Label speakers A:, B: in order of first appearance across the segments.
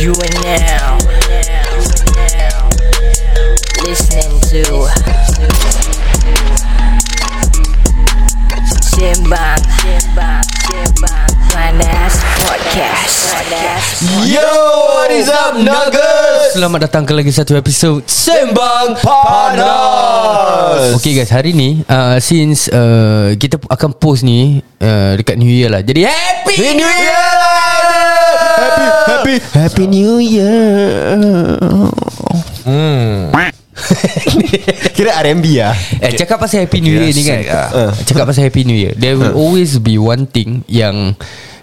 A: You are now listening to Simbang Panas Podcast.
B: Yo, what is up Nuggets?
C: Selamat datang ke lagi satu episod Sembang
B: Panas.
C: Okay guys, hari ni uh, Since uh, kita akan post ni uh, Dekat New Year lah Jadi happy
B: Happy New Year! Happy, happy, happy New Year. Hmm. Kira R&B ya.
C: Eh cakap pasal Happy New
B: Kira
C: Year ni kan
B: sick, ah.
C: uh. Cakap pasal Happy New Year There
B: Uh.
C: will always be one thing Yang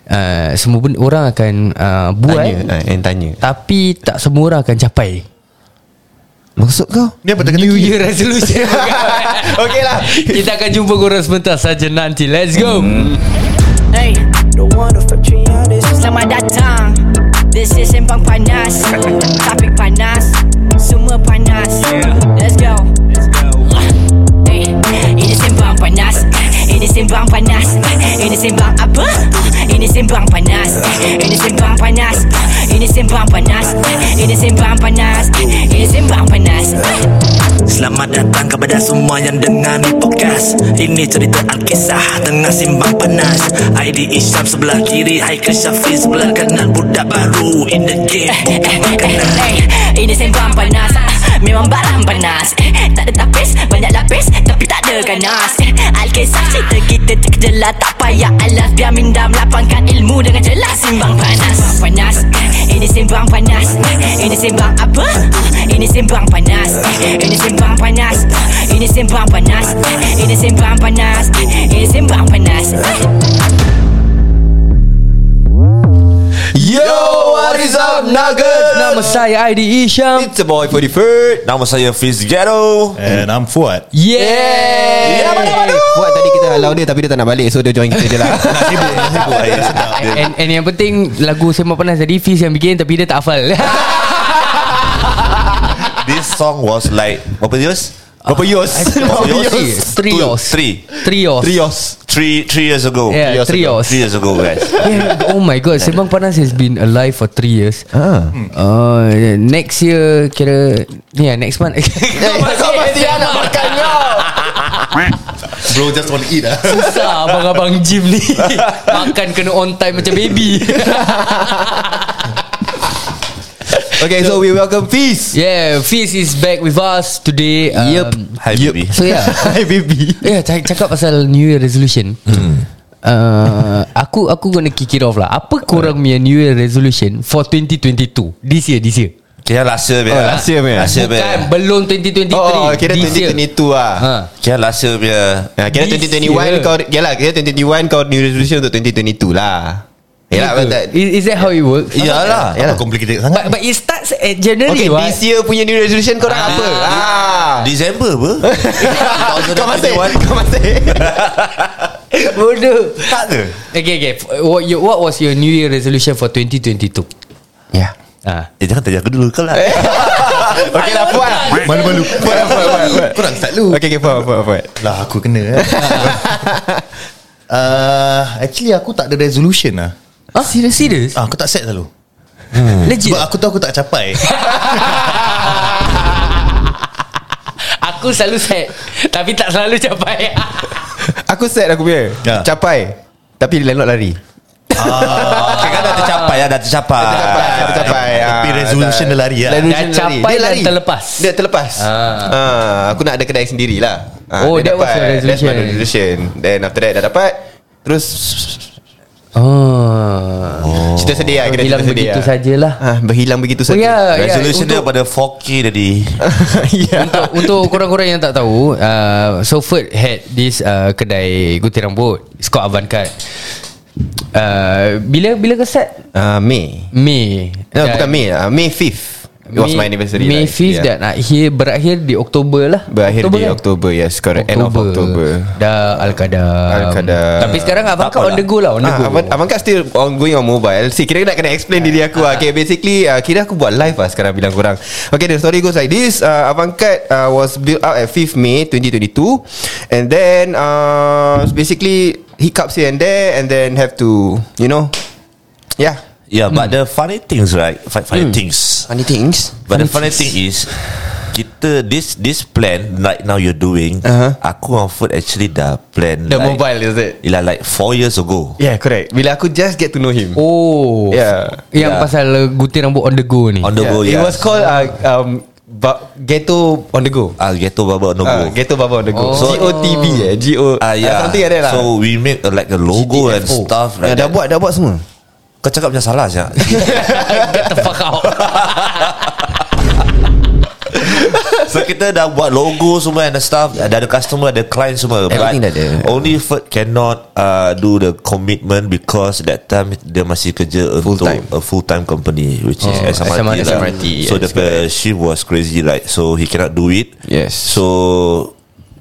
C: uh, Semua benda, orang akan uh, Buat
B: Tanya, ah, yang tanya.
C: Tapi tak semua orang akan capai
B: Maksud kau?
D: Ni apa teka-teki?
C: New Year resolution
B: Okey lah.
C: Kita akan jumpa korang sebentar saja nanti Let's go
B: Hmm.
A: Hey, selamat datang. This is Sembang Panas. Topik panas, semua panas. Let's go. Hey, ini Sembang Panas. Ini Sembang Panas. Ini Sembang apa? Ini Sembang Panas. Ini Sembang Panas. Ini Sembang Panas. Ini Sembang Panas. Ini Sembang Panas.
E: Selamat datang kepada semua yang dengar ni podcast Ini cerita Alkisah tengah simbang panas ID Isyam sebelah kiri Haikal Syafiq sebelah kanan Budak baru in the game bukan makanan
A: Eh, Ini sembang panas Ah, Memang barang panas Eh, Tak ada tapis Banyak lapis Tapi tak ada ganas Eh, Alkisah cerita kita terkejelah Tak payah alas Biar minda melapangkan ilmu Dengan jelas Simbang panas Simbang panas Eh, Ini sembang panas Eh, Ini sembang apa? Ah, Ini sembang panas Eh, Ini sembang panas Ah, Ini sembang panas Eh, Ini sembang panas Eh, Ini sembang panas Eh.
B: Yo, what is up Nuggets?
C: Nama saya Aidi Isham
B: It's a boy 43rd. Nama saya Fizz Ghetto.
D: And I'm Fuad
C: Yeah.
B: Yeah, madu-madu.
F: Buat tadi kita halau dia Tapi dia tak nak balik So dia join kita je lah
D: Sibuk Sibuk Ayah, sedap dia.
C: And, and yang penting lagu Sembang Panas tadi Fiz yang bikin tapi dia tak hafal.
B: This song was like Berapa years? Berapa years?
C: Berapa years? Trios.
B: Two, Three
C: Trios.
B: Trios Three Three years ago
C: Yeah,
B: Three years
C: trios.
B: ago. Three years ago guys
C: Yeah. Oh my god, Sembang Panas has been alive for 3 years. Ah. Uh, next year kira yeah, next month.
B: Kau masih anak makan kau
D: Bro just want to eat lah
C: Susah abang-abang gym ni. Makan kena on time macam baby.
F: Okay so we welcome Fizz
C: yeah, Fiz is back with us today. Um,
F: Yup.
B: Hi baby
C: So yeah.
F: Hi baby
C: Ya yeah, cak- cakap pasal New Year resolution. Hmm. Uh, aku aku gonna kick it off lah. Apa korang punya New Year resolution for 2022? This year, this year.
B: Kira last year
F: Oh,
G: Ya,
F: last year punya.
B: Last year punya
C: Bukan belum 2023.
F: Oh kira
C: this year.
F: 2022 lah
C: Ha.
B: Kira last year ah. punya
F: Ya, kira
C: This
F: 2021
C: year.
F: kau ya lah kira 2021 kau new resolution untuk 2022 lah. Ya lah tak.
C: Is, is that how it works?
B: Yalah
D: Apa complicated sangat
C: But, but it starts at January.
F: Okay,
C: what?
F: kan this year punya new resolution kau
C: Ah.
F: nak apa? Ah.
B: December apa
F: Kau masih
B: 2021.
F: Kau masih
C: Bodoh.
B: Tak ada
C: Okay, okay. What, your, what was your New Year resolution for 2022?
F: Ya
C: Ah.
B: Eh jangan tanya aku dulu Kau lah
F: Okay lah Fuad
D: Malu-malu
F: Fuad Fuad Fuad, Fuad
D: Korang start dulu
F: Okay okay Fuad Fuad Fuad
D: Lah aku kena eh. uh, Actually aku tak ada resolution lah
C: Ah, serious, serious?
D: ah, Aku tak set selalu
C: Legit?
D: Sebab aku tahu aku tak capai
C: Aku selalu set Tapi tak selalu capai
F: Aku set aku punya
D: Ya.
F: Capai Tapi landlord lari
B: Kira dah tercapai ya, Dah tercapai
F: Dah tercapai, dah tercapai.
D: Tapi
F: Ah,
D: resolution
F: tak-
D: dia lari
G: ya.
D: lah
F: Resolution
C: Dah
F: dia
C: capai
F: lari. Dia
C: dan
F: lari.
C: terlepas.
F: Dia terlepas
C: Ah.
F: Ah, Aku nak ada kedai sendiri lah Ah,
C: Oh, that
F: dia
C: was
F: dapat.
C: your
F: That's my
C: resolution.
F: resolution Then after that dah dapat Terus
C: Oh
F: Cerita sedih lah kita
C: Hilang
F: cerita sedih
C: begitu
F: lah.
C: sajalah
F: Ah, Berhilang begitu
C: Oh
F: saja
C: ya, ya.
B: Resolution dia
C: untuk,
B: pada 4K tadi
F: Ya
C: untuk, untuk korang-korang yang tak tahu uh, Soford had this uh, Kedai gunting rambut It's called Avantcard uh, Bila bila ke set?
F: Ah, Mei
C: May Dan-
F: No bukan Mei ah, May 5th It was my anniversary
C: May
F: lah,
C: 5th
F: yeah.
C: dan akhir Berakhir di Oktober lah
F: Berakhir
C: Oktober
F: di
C: kan?
F: Oktober Yes correct End of October
C: Dah Al-Qadar
F: Al-Qadar.
C: Tapi sekarang Abang
B: Tak
C: Kak on
B: apalah.
C: the go lah On the go
F: Ah, Abang, Abang Kak still ongoing on mobile See, kira nak kena explain diri aku lah Okay, basically uh, Kira aku buat live lah sekarang bilang korang Okay, the story goes like this uh, Abang Kak uh, was built up at 5th May 2022 And then ah, uh, Basically Hiccups here and there And then have to You know Yeah
G: Yeah, Ya, but the funny things, right? Fu-
F: Hmm.
G: Funny things.
B: Funny things
G: But the funny thing is, kita this this plan right now you're doing, uh-huh. aku dengan Food actually dah plan
F: The
G: like,
F: mobile is it
G: Ialah like 4 years ago.
F: Yeah correct Bila aku just get to know him
C: Oh
F: Yeah.
G: Yeah.
C: Yang pasal uh, gunting rambut on the go ni
G: On the
F: yeah,
G: go,
F: It
G: yeah.
F: was called uh, um, ba- Ghetto on the go
G: Ah, ghetto baba on the go.
F: uh, Ghetto Baba on the
C: Oh.
F: go so, G-O-T-B eh G-O
G: Ah, yeah.
F: Something like that lah
G: So we make uh, like a logo and stuff like that.
F: Ya, dah buat semua
G: Kau cakap macam salah saja.
C: Get the fuck out
G: so kita dah buat logo semua and the stuff. Dah ada customer, ada client semua.
B: Everything dah ada.
G: Only Ferd cannot uh, do the commitment because that time dia masih kerja full untuk
F: time.
G: a full time company which is
C: Oh,
G: SMRT.
C: SMRT,
G: lah.
F: SMRT,
G: So
F: yes,
G: the uh, shift was crazy like so he cannot do it.
F: Yes.
G: So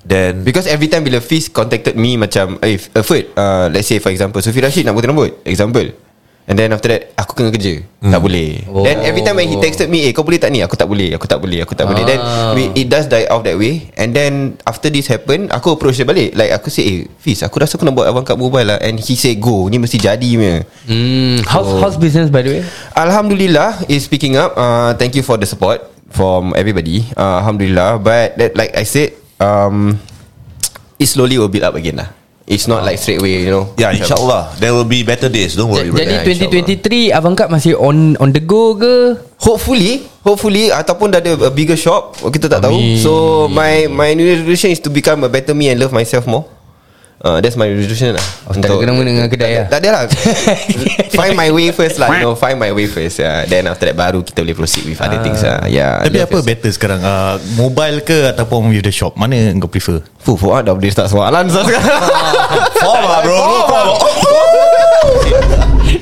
G: then
F: Because every time bila Fiz contacted me macam Eh uh, Ferd uh, Let's say for example Sufi Rashid nak potong rambut Example And then after that Aku kena kerja mm. Tak boleh oh. Then every time when he texted me Eh kau boleh tak ni Aku tak boleh Aku tak boleh Aku tak ah. boleh Then we, it does die off that way And then After this happen Aku approach dia balik Like aku say Eh Fiz aku rasa aku nak buat abang kat mobile lah And he say go Ni mesti jadi punya
C: Hmm, how's, how's business by the way?
F: Alhamdulillah is picking up. Uh, thank you for the support from everybody. Uh, Alhamdulillah, but that like I said, um, it slowly will build up again lah. It's not like straight away, you know.
D: Ya,
G: yeah, insyaallah there will be better days. Don't worry. bro.
C: Jadi
F: Yeah, insyaAllah.
C: 2023 Abang Kak masih on on the go ke?
F: Hopefully, hopefully ataupun dah ada a bigger shop, kita tak
C: Amin.
F: tahu. So my my new resolution is to become a better me and love myself more. Uh, that's my resolution lah.
C: Oh, tak ada kena-mengena dengan kedai lah.
F: Tak ada lah. find my way first lah. You know, find my way first. Yeah. Then after that baru kita boleh proceed with other things lah. Yeah.
D: Tapi
F: Love
D: apa better sekarang uh, Mobile ke Ataupun with the shop Mana kau prefer
F: Fuh, Fuad dah boleh start soalan sah sekarang
G: Forma lah, bro. Forma.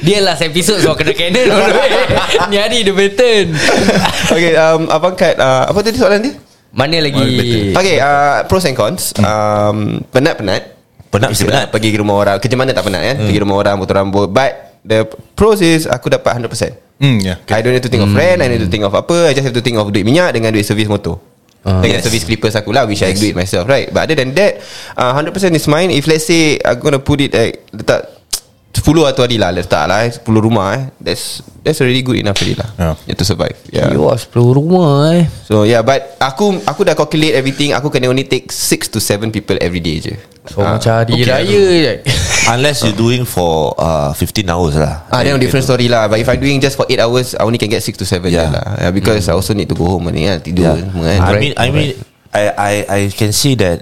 C: Dia last episode So kena kena dulu Ni hari the pattern
F: Okay, um, Abang Kat, uh, apa tadi soalan dia?
C: Mana lagi
F: Okay, uh, pros and cons um, Penat-penat
G: Penat mesti penat.
F: Pergi ke rumah orang Kerja mana tak penat kan Pergi rumah orang, potong rambut But the pros is Aku dapat 100%
D: Hmm yeah
F: I don't need to think of rent I don't need to think of apa I just have to think of duit minyak Dengan duit servis motor uh, Dengan yes. servis clippers aku lah Which yes. I do it myself right But other than that uh, 100% is mine If let's say I'm gonna put it like, Letak 10 atau hari lah Letak lah eh, 10 rumah eh That's That's already good enough already lah
D: Yeah.
F: yeah. To survive
C: Yeah.
F: yeah.
C: You are 10 oh, rumah eh
F: So yeah but Aku aku dah calculate everything Aku kena only take 6 to 7 people every day je
C: So
F: Ah.
C: uh, macam hari okay, raya je
G: Unless you doing for uh, 15 hours lah.
F: Ah, then a different story lah But if I doing just for 8 hours I only can get 6 to 7 yeah.
G: Yeah. Mm.
F: lah yeah, Because I also need to go home ni, kan, Tidur
G: Yeah.
F: yeah. semua kan
G: I mean, I mean, I I I can see that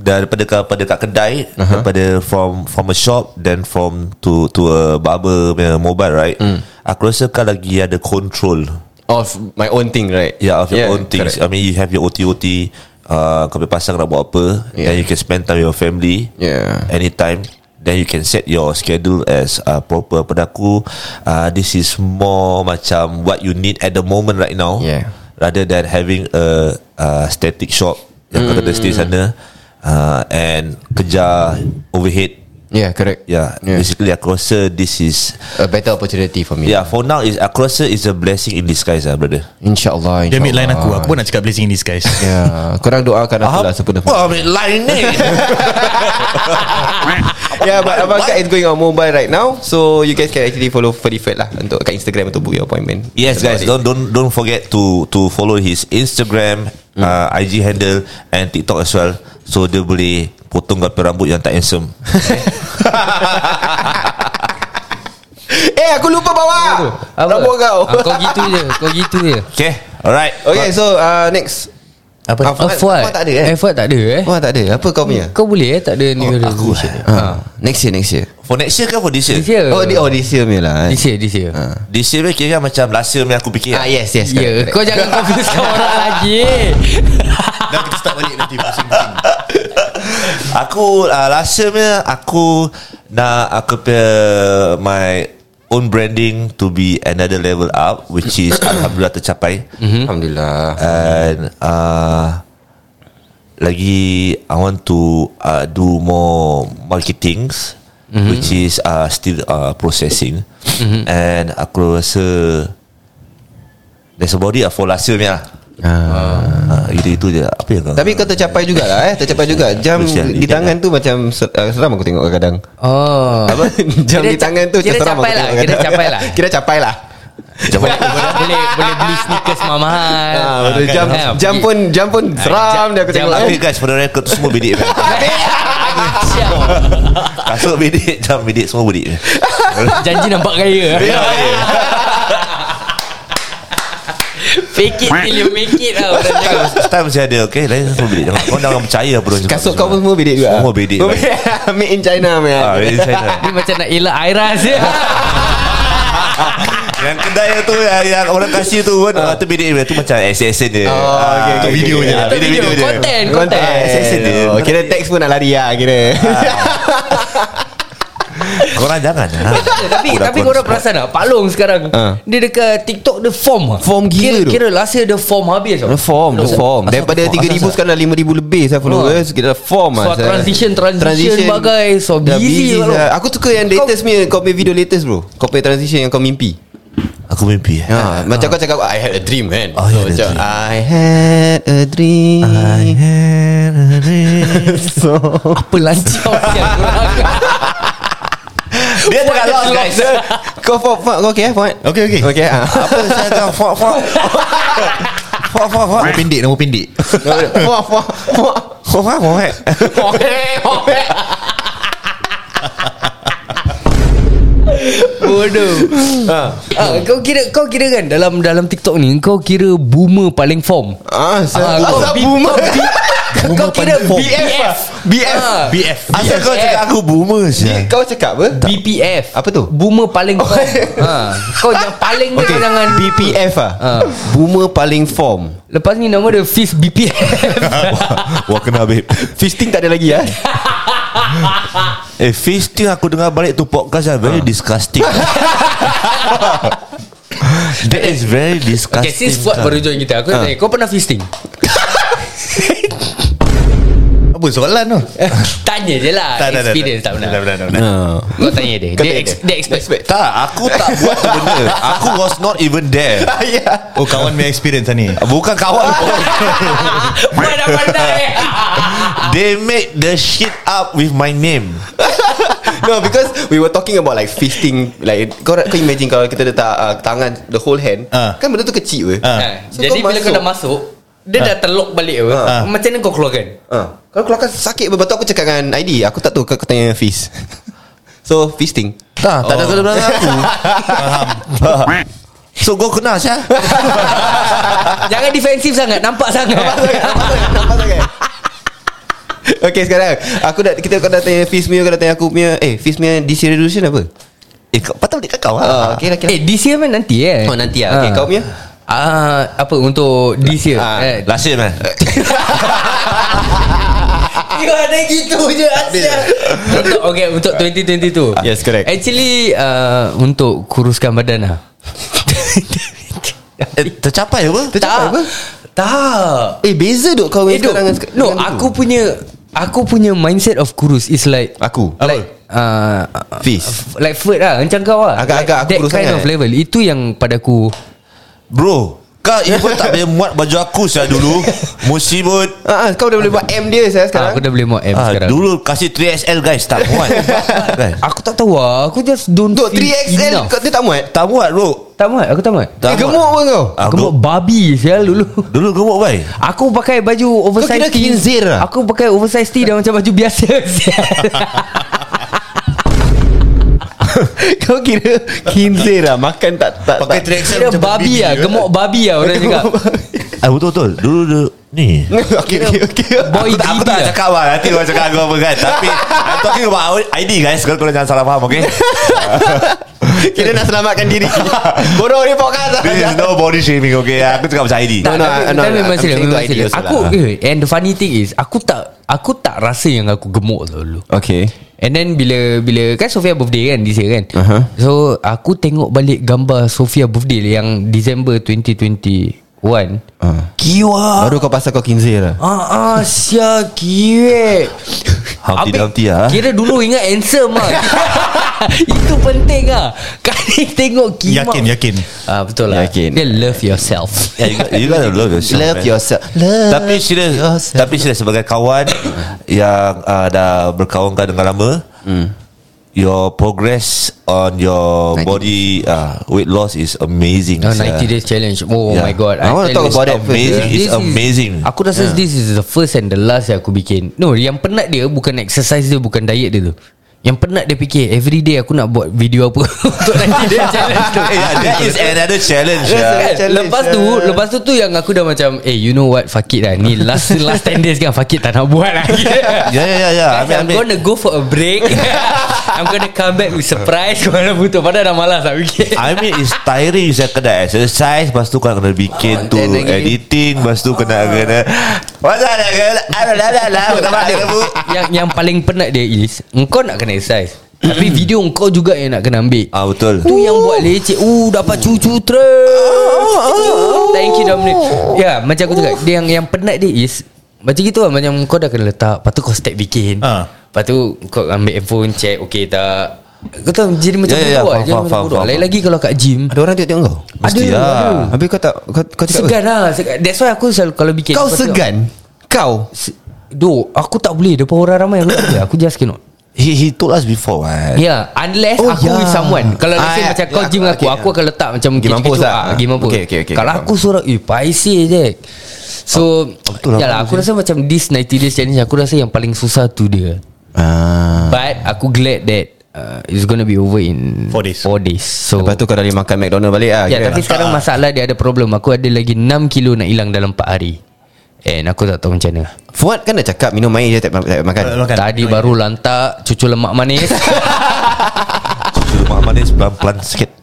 G: daripada ke, pada kat kedai uh-huh. daripada from from a shop then from to to a barber punya mobile right
F: Hmm.
G: aku rasa kau lagi ada control
F: Of my own thing right
G: yeah Ya, of your own things
F: correct.
G: i mean you have your OT-OT uh, kau boleh pasang nak buat apa yeah.
F: Yeah.
G: then you can spend time with your family
F: Yeah.
G: anytime then you can set your schedule as uh, proper pada aku uh, this is more macam what you need at the moment right now
F: Yeah.
G: rather than having a uh, static shop yang kau kena stay sana uh, and kerja overhead
F: Yeah correct
G: yeah, yeah.
F: yeah.
G: basically aku rasa this is
F: A better opportunity for me
G: yeah for now is aku rasa is a blessing in disguise lah brother
F: InsyaAllah
D: Dia
F: insya
D: ambil line aku Aku pun nak cakap blessing in disguise
F: Yeah Korang doakan aku lah sepenuh
G: Wah ambil line ni
F: Yeah but Abang Kak is going on mobile right now So you guys can actually follow Ferdy Fred lah Untuk kat Instagram Untuk book your appointment
G: Yes guys,
F: About it.
G: don't don't don't forget to to follow his Instagram, uh, IG handle and TikTok as well. So dia boleh potong kau punya rambut yang tak handsome.
F: Eh aku lupa bawa Rambut kau
C: ah, Kau gitu je Kau gitu je
G: Okay, alright.
F: Okay so uh, next
C: Apa
F: Ah, Fuad-
C: Fuad
F: Fuad tak ada, eh? Oh,
C: eh Fuad tak ada eh
F: Wah tak ada Apa kau punya
C: Kau boleh eh Tak ada new
G: aku,
C: resolution
G: eh.
F: uh, Next year next year
G: For next year ke for this year?
C: This year
F: Oh, di, oh this year punya lah eh.
C: This year This year
G: This year punya kira macam last year punya aku fikir.
F: Ah yes yes
C: Ya
F: correct,
C: Kau
F: correct.
C: jangan confuse orang lagi
D: Dan kita start balik nanti Pusing-pusing
G: Aku uh, last year punya aku nak aku punya my own branding to be another level up which is alhamdulillah tercapai.
C: Mm-hmm.
F: Alhamdulillah
G: and uh, lagi I want to uh, do more marketings mm-hmm. which is uh, still uh, processing mm-hmm. and aku rasa that's about it lah for last year punya lah Ah, itu itu je. Apa yang kau?
F: Tapi kau tercapai jugalah eh Tercapai juga Jam
G: Kesian
F: di
G: dia
F: tangan tu macam ser- uh, Seram aku tengok kadang
C: Oh
F: Apa? Jam
C: Kira
F: di
C: ca-
F: tangan tu
C: Kira
F: macam seram aku
C: capai lah
F: tengok
C: Kira
F: kadang.
C: capai lah
F: Kira capai lah
C: boleh, boleh, boleh, boleh beli sneakers mahal
F: Ah, betul. Jam
C: kan?
F: jam pun jam pun seram dia aku
C: Ah, jam-
F: tengok.
G: Tapi
F: eh.
G: guys, for the record tu semua bidik. man.
C: Siap.
G: Kasut bidik, jam bidik, semua bidik. Ya,
C: Janji nampak kaya Fake it till you make it lah Orang cakap
G: Time saya ada Okay Lain semua bidik Jangan, Kau jangan percaya apa orang cakap
F: Eh, Kasut kau pun semua bidik juga.
G: Semua bidik man.
F: Made in China man.
G: Ah, in China.
C: Ni macam nak elak Airas je
G: Yang kedai tu Yang, yang orang kasih tu pun
C: Ah.
G: Itu bidik man. Tu macam SSN dia Ah,
F: Oh, okay, okay,
G: Video
F: okay.
G: je
F: Itu
G: Video-video je
C: Content
F: Kontak
C: Content
F: SSN
G: dia.
F: dia. Oh, Kira teks pun nak lari lah kira.
G: Korang jangan lah.
C: Ya, tapi
G: Budak
C: tapi
G: korang semua.
C: korang perasan tak Pak Long sekarang
F: Ah.
C: Dia dekat TikTok Dia form ah.
F: Form
C: kira,
F: gila tu.
C: Kira last year dia form habis tau.
F: Form
C: Asal-
F: Form
C: asal-
F: Daripada
C: asal-
F: 3,000
C: asal-
F: sekarang dah 5,000 lebih Saya followers Kita dah form lah,
C: So,
F: saya-
C: transition- transition bagai. So,
F: Dah
C: busy lah,
F: saya.
C: bro.
F: Aku suka yang latest punya Kau punya video latest bro Kau punya transition yang kau mimpi
G: Aku mimpi eh.
F: Ha, macam kau cakap I had a dream
G: I had
F: kan
G: a
F: macam,
G: dream.
F: I had a dream
G: I had a dream.
F: So
C: Apa lancar sial korang.
G: Dia tengah
C: What
G: lost
C: the
G: guys
C: fuck?
F: Kau Fuad Fuad Kau okay eh Fuad
D: Okay, okay.
F: Okay ah.
G: Apa saya tengah Fuck fuck Fuck fuck fuck
D: Nama pendek Nama pendek
F: Fuad Fuad Fuad
G: Fuck fuck fuck
C: Bodoh. Ah, kau kira kau kira kan dalam dalam TikTok ni kau kira boomer paling form.
F: Ah,
C: Ah, kau
F: Asal
C: bi-
F: boomer
C: kau kira
D: paling form.
C: BF.
F: BF
C: Ah,
D: BF
G: Asal kau cakap aku boomer sih
F: Kau cakap apa?
C: BPF.
F: Apa tu?
C: Boomer paling form. Ah, kau yang paling okay.
F: Okay
C: jangan
F: BPF
C: Ah.
F: ah. Boomer paling form
C: Lepas ni nama dia Fizz BPF.
G: Wah kena babe
F: Fisting tak ada lagi ah.
G: Eh fisting aku dengar balik tu podcast lah
C: Ah.
G: Very disgusting That is very disgusting
C: Okay, since Fuad baru join kita Aku nak tanya Kau pernah fisting?
D: Apa soalan tu
C: Tanya je lah Experience tak pernah Kau tanya dia
F: Kau
C: Dia,
F: tanya
C: ex,
F: dia.
C: dia expert
G: Tak aku tak buat tu benda Aku was not even there
F: Ya.
D: Oh kawan punya experience lah ni
G: Eh, Bukan kawan pun.
C: Pandai-pandai
G: They make the shit up with my name
F: No because We were talking about like Fisting Like Kau, kau imagine kalau kita letak uh, Tangan The whole hand
D: Ah.
F: Kan benda tu kecil ke
D: Ah.
C: Ah,
F: So,
C: Jadi
F: kau
C: bila kau
F: masuk.
C: dah masuk Dia dah terlock balik apa
F: Ah.
C: Macam mana kau keluarkan?
F: Ah. Kalau keluarkan sakit Betul aku cakap dengan ID Aku tak tahu kau kau tanya fist So fisting
G: Tak, tak ada kena bilang aku Faham So ya? kau kenal Syah
F: Ah.
C: Jangan defensif sangat Nampak sangat
F: Nampak sangat Okay sekarang Aku dah Kita kau dah tanya fist punya Kau dah tanya aku punya Eh fist punya This resolution apa
G: Eh kau patut balik kau
F: Ah,
G: lah
F: Okay lah okay lah
C: Eh this year man nanti eh
F: Oh, nanti lah. Okay,
C: Ah.
F: kau punya?
C: Ah, Apa untuk this year
F: Ah,
C: eh,
G: Last year man
F: Ah.
C: Kau ada gitu je Asya untuk, Okay untuk 2022
F: Ah. Yes, correct.
C: Actually uh, Untuk kuruskan badan lah
G: eh, Tercapai apa?
F: Tercapai apa?
C: Tak
F: Eh beza duk kau
C: Eh
F: punya
C: duk
F: sekarang dengan-
C: No
F: dengan
C: aku
F: dulu.
C: punya Aku punya mindset of kurus Is like
F: Aku
C: Like uh,
F: Fizz.
C: Like food lah Macam kau lah
F: Agak-agak
C: like,
F: aku
C: That
F: kurus
C: kind
F: sangat.
C: of level Itu yang padaku
G: Bro Kau even tak boleh muat baju aku Syah dulu Musibut
F: Ah, ah, kau dah boleh buat M dia saya
C: ah,
F: sekarang.
C: Aku dah boleh mod M
G: Ah,
C: sekarang
G: dulu kasih 3XL guys tak muat. kan?
C: Aku tak tahu lah Aku just don't
F: Duk
C: feel
F: 3XL
C: enough.
F: kau dia tak muat.
G: tak muat bro.
C: Tak muat Aku tak muat
G: Tak
F: Dia gemuk pun kau.
G: Ah,
C: Aku buat
G: dulu,
C: babi Sial dulu
G: dulu gemuk bai.
C: Aku pakai baju oversize
F: kira khinzir lah.
C: Aku pakai oversize tee Dah macam baju biasa sial.
F: kau kira kinzir lah makan tak tak
D: Pakai
F: tak.
D: track
C: Kira babi lah Gemuk babi lah orang cakap
G: Ah betul betul. Dulu, dulu ni.
F: Okey okey okey.
C: Boy
G: Aku tak, aku
C: greedy
G: tak nak
C: lah.
G: cakap lah Nanti orang cakap aku apa kan Tapi I'm talking about our ID guys Kalau korang jangan salah faham okay
F: Kira nak selamatkan diri. Bodoh ni podcast.
G: This is no body shaming okay Ah, Aku cakap macam ID
C: Tak,
F: No, no,
C: tapi-
F: no,
C: tapi
F: no,
C: memang
F: I'm
C: serius,
F: saying
C: memang
F: tu
C: serius.
F: ideas
C: Aku
F: lah.
C: eh, And the funny thing is Aku tak Aku tak rasa yang aku gemuk tau dulu
F: Okey.
C: And then bila bila kan Sofia birthday kan this year kan.
F: Aha.
C: So aku tengok balik gambar Sofia birthday yang December 2021. Kiwa.
F: Oh. Baru kau pasal kau kinzir lah.
C: Ah ah sia kiwe.
G: Humpty
C: Habis,
G: Dumpty lah.
C: Kira dulu ingat handsome lah Itu penting lah Kali tengok kimak
D: Yakin, yakin.
C: ah, Betul lah
F: Yakin.
C: Dia love
G: Yeah,
C: yourself
G: Ya, you, got- you gotta love yourself
F: Love
G: man.
F: yourself. Love
G: Tapi serius Tapi serius Sebagai kawan Yang uh, dah berkawan kau dengan lama
C: Hmm.
G: Your progress On your
F: 90
G: body uh, Weight loss is amazing
C: Oh,
G: sia.
C: 90 days challenge Oh
G: Yeah.
C: my god
F: I wanna
C: tell you,
F: talk about that first.
G: amazing.
C: This
G: It's
C: is-
G: amazing
C: Aku rasa yeah. this is the first and the last yang aku bikin No yang penat dia Bukan exercise dia Bukan diet dia tu Yang penat dia fikir Every day aku nak buat video apa Untuk nanti dia challenge tu
G: yeah, That is another challenge yeah.
C: Kan? Lepas tu Lepas tu tu yang aku dah macam Eh you know what Fuck it lah Ni last last 10 days kan Fuck it tak nak buat lah
G: Yeah yeah yeah, yeah. I
C: Guys,
G: mean, I
C: I'm
G: mean,
C: gonna go for a break I'm gonna come back with surprise Mana butuh Padahal dah malas lah fikir
G: I mean it's tiring Saya kena exercise Lepas tu kau kena bikin tu
F: then Oh, lagi- Ah.
G: Editing Lepas tu kena kena What's Ah, that
C: yang yang paling penat dia is Engkau nak kena exercise Tapi video engkau juga yang nak kena ambil
G: Hmm. Ah betul Ah,
C: Tu yang buat leceh Uh dapat cucu terus Thank you Dominic Ya macam aku cakap Dia yang, yang penat dia is Macam gitu lah Macam kau dah kena letak Lepas tu kau step bikin
D: Ah.
C: Lepas tu kau ambil handphone Check okay tak Kau tahu jadi macam
G: Ya, ya,
C: bodoh
G: ya, faham,
C: lah, jadi
G: faham,
C: macam
G: faham,
C: bodoh.
G: faham.
C: Lain lagi kalau kat gym
F: Ada orang tengok-tengok kau
G: Mesti lah
F: Habis kau tak Kau, kau cakap
C: Segan lah segan. That's why aku selalu Kalau bikin
F: apa? Kau
C: aku tengok.
F: segan Kau
C: Se- Do Aku tak boleh Depan orang ramai Aku tak boleh Aku just cannot
G: He he told us before eh. what?
C: Yeah Unless
F: Oh,
C: oh, aku
F: yeah.
C: yeah. with someone Kalau
F: Ah,
C: let's say
F: yeah.
C: macam kau gym
F: Yeah, aku-
C: dengan aku
F: okay,
C: Aku akan letak macam
F: Game mampus
C: ah,
F: lah.
C: Game mampus
F: Okay, okay, okay,
C: Kalau
F: faham. Oh,
C: aku sorang Eh paisih je So
G: betul lah,
C: Yalah aku rasa macam This 90 days challenge Aku rasa yang paling susah tu dia
F: ah.
C: But aku glad that uh, It's gonna be over in
D: Four days.
C: 4 days So
F: Lepas tu kau dah boleh makan McDonald balik lah
C: Ya
F: kira.
C: tapi sekarang masalah dia ada problem Aku ada lagi 6 kilo nak hilang dalam 4 hari And aku tak tahu macam mana
F: Fuad kan dah cakap Minum air je tak, tak, tak makan
D: Makan.
C: Tadi baru
D: kan?
C: lantak Cucu lemak manis
G: Suruh Mak Manis pelan-pelan sikit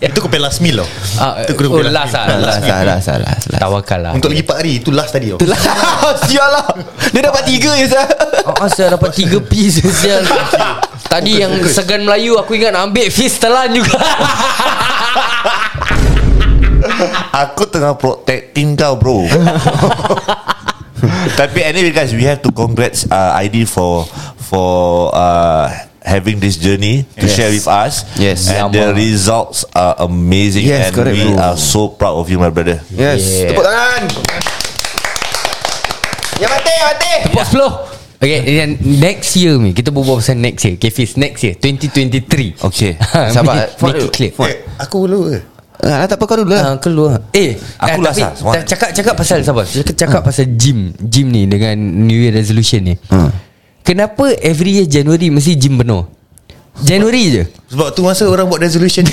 D: Itu kau pay last meal tau
C: Ah,
D: Itu kau
C: oh,
D: pay
C: last
D: meal.
C: lah, last
D: meal.
F: Salah salah salah
C: Tawakal lah
D: Untuk lagi 4 hari Itu last tadi tau
F: Lah Sial lah Dia dapat tiga je sah
C: Ah, ah, saya dapat tiga piece sial. Tadi yang segan Melayu aku ingat nak ambil fish telan juga.
G: Aku tengah protecting kau bro Tapi anyway guys We have to congrats uh, ID for For uh, Having this journey To
F: Yes.
G: share with us
F: Yes.
G: And the results are amazing
F: Yes,
G: And
F: correct,
G: we
F: bro.
G: are so proud of you my brother
F: Yes
C: Yeah.
F: Tepuk tangan Ya, Yang mati yang mati
C: Pok 10. Okay, then next year ni kita berbual pasal next year. Okay, Fiz, next year 2023.
G: Okay.
F: Sabar,
C: Make, make it clear.
F: Fuad.
D: Eh, Aku dulu ke
F: Ah, tak apa kau dulu lah
C: Ah, keluar. Eh,
G: Aku last lah, Wan.
C: lah. Cakap cakap pasal sabar. Cakap, cakap pasal gym, gym ni dengan New Year resolution ni. Kenapa every year January mesti gym penuh? Januari je.
D: Sebab tu masa orang buat resolution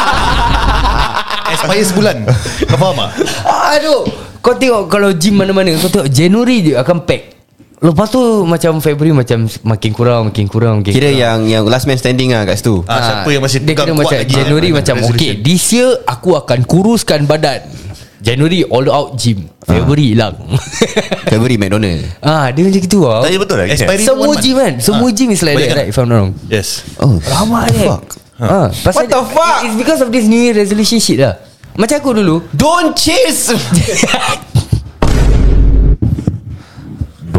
D: Expire sebulan Kau faham tak?
C: Aduh Kau tengok kalau gym mana-mana Kau tengok Januari je akan pack Lepas tu macam Februari macam makin kurang makin kurang makin
F: Kira
C: kurang.
F: yang yang last man standing lah kat situ
D: Ah, siapa yang masih
C: dia kira
D: pegang kuat
C: macam
D: lagi
C: Januari
D: Ah,
C: macam
D: resolution.
C: okay this year aku akan kuruskan badan. Januari all out gym.
D: Ha.
C: February hilang.
F: February McDonald
C: ah dia macam gitu ah.
G: Tadi betul lah
D: Expiry
G: Expiring
C: Semua
D: one month.
C: gym kan Semua
D: Ah.
C: gym is like
D: Boleh
C: that
D: kan?
C: right If I'm not wrong
D: Yes
F: Oh
C: Lama ni
D: Ha.
C: Ah, pasal
F: What the fuck?
C: It's because of this new year resolution shit lah Macam aku dulu
F: Don't chase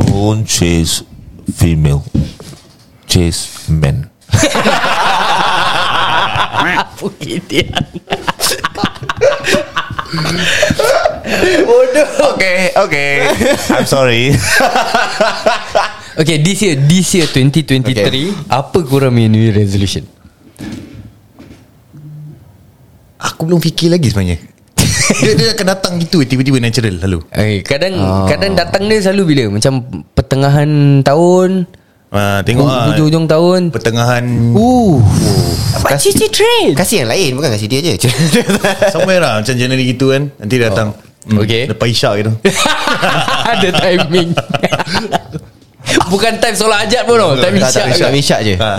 G: Don't chase female Chase men
C: Bukit dia Bodoh
G: Okay okay I'm sorry
C: Okay this year This year 2023
F: Okay.
C: okay. Apa korang punya new year resolution
D: Aku belum fikir lagi sebenarnya dia, dia akan datang gitu Tiba-tiba natural lalu
C: eh, Kadang oh. Kadang datang dia selalu bila Macam pertengahan tahun
D: ah, Tengok
C: Tengok
D: lah
C: Oh, Hujung-hujung tahun
D: Pertengahan
F: Uh
C: Pakcik cik train
F: Kasih yang lain Bukan kasih dia
C: Oh,
F: je
D: Somewhere lah Macam Januari gitu kan Nanti dia datang Hmm,
C: Okay.
D: Lepas Isyak gitu
C: Ada timing Bukan time solat ajat pun tau Time
F: Tak tak
C: isyak
F: Isyak Isyak je
D: Ah.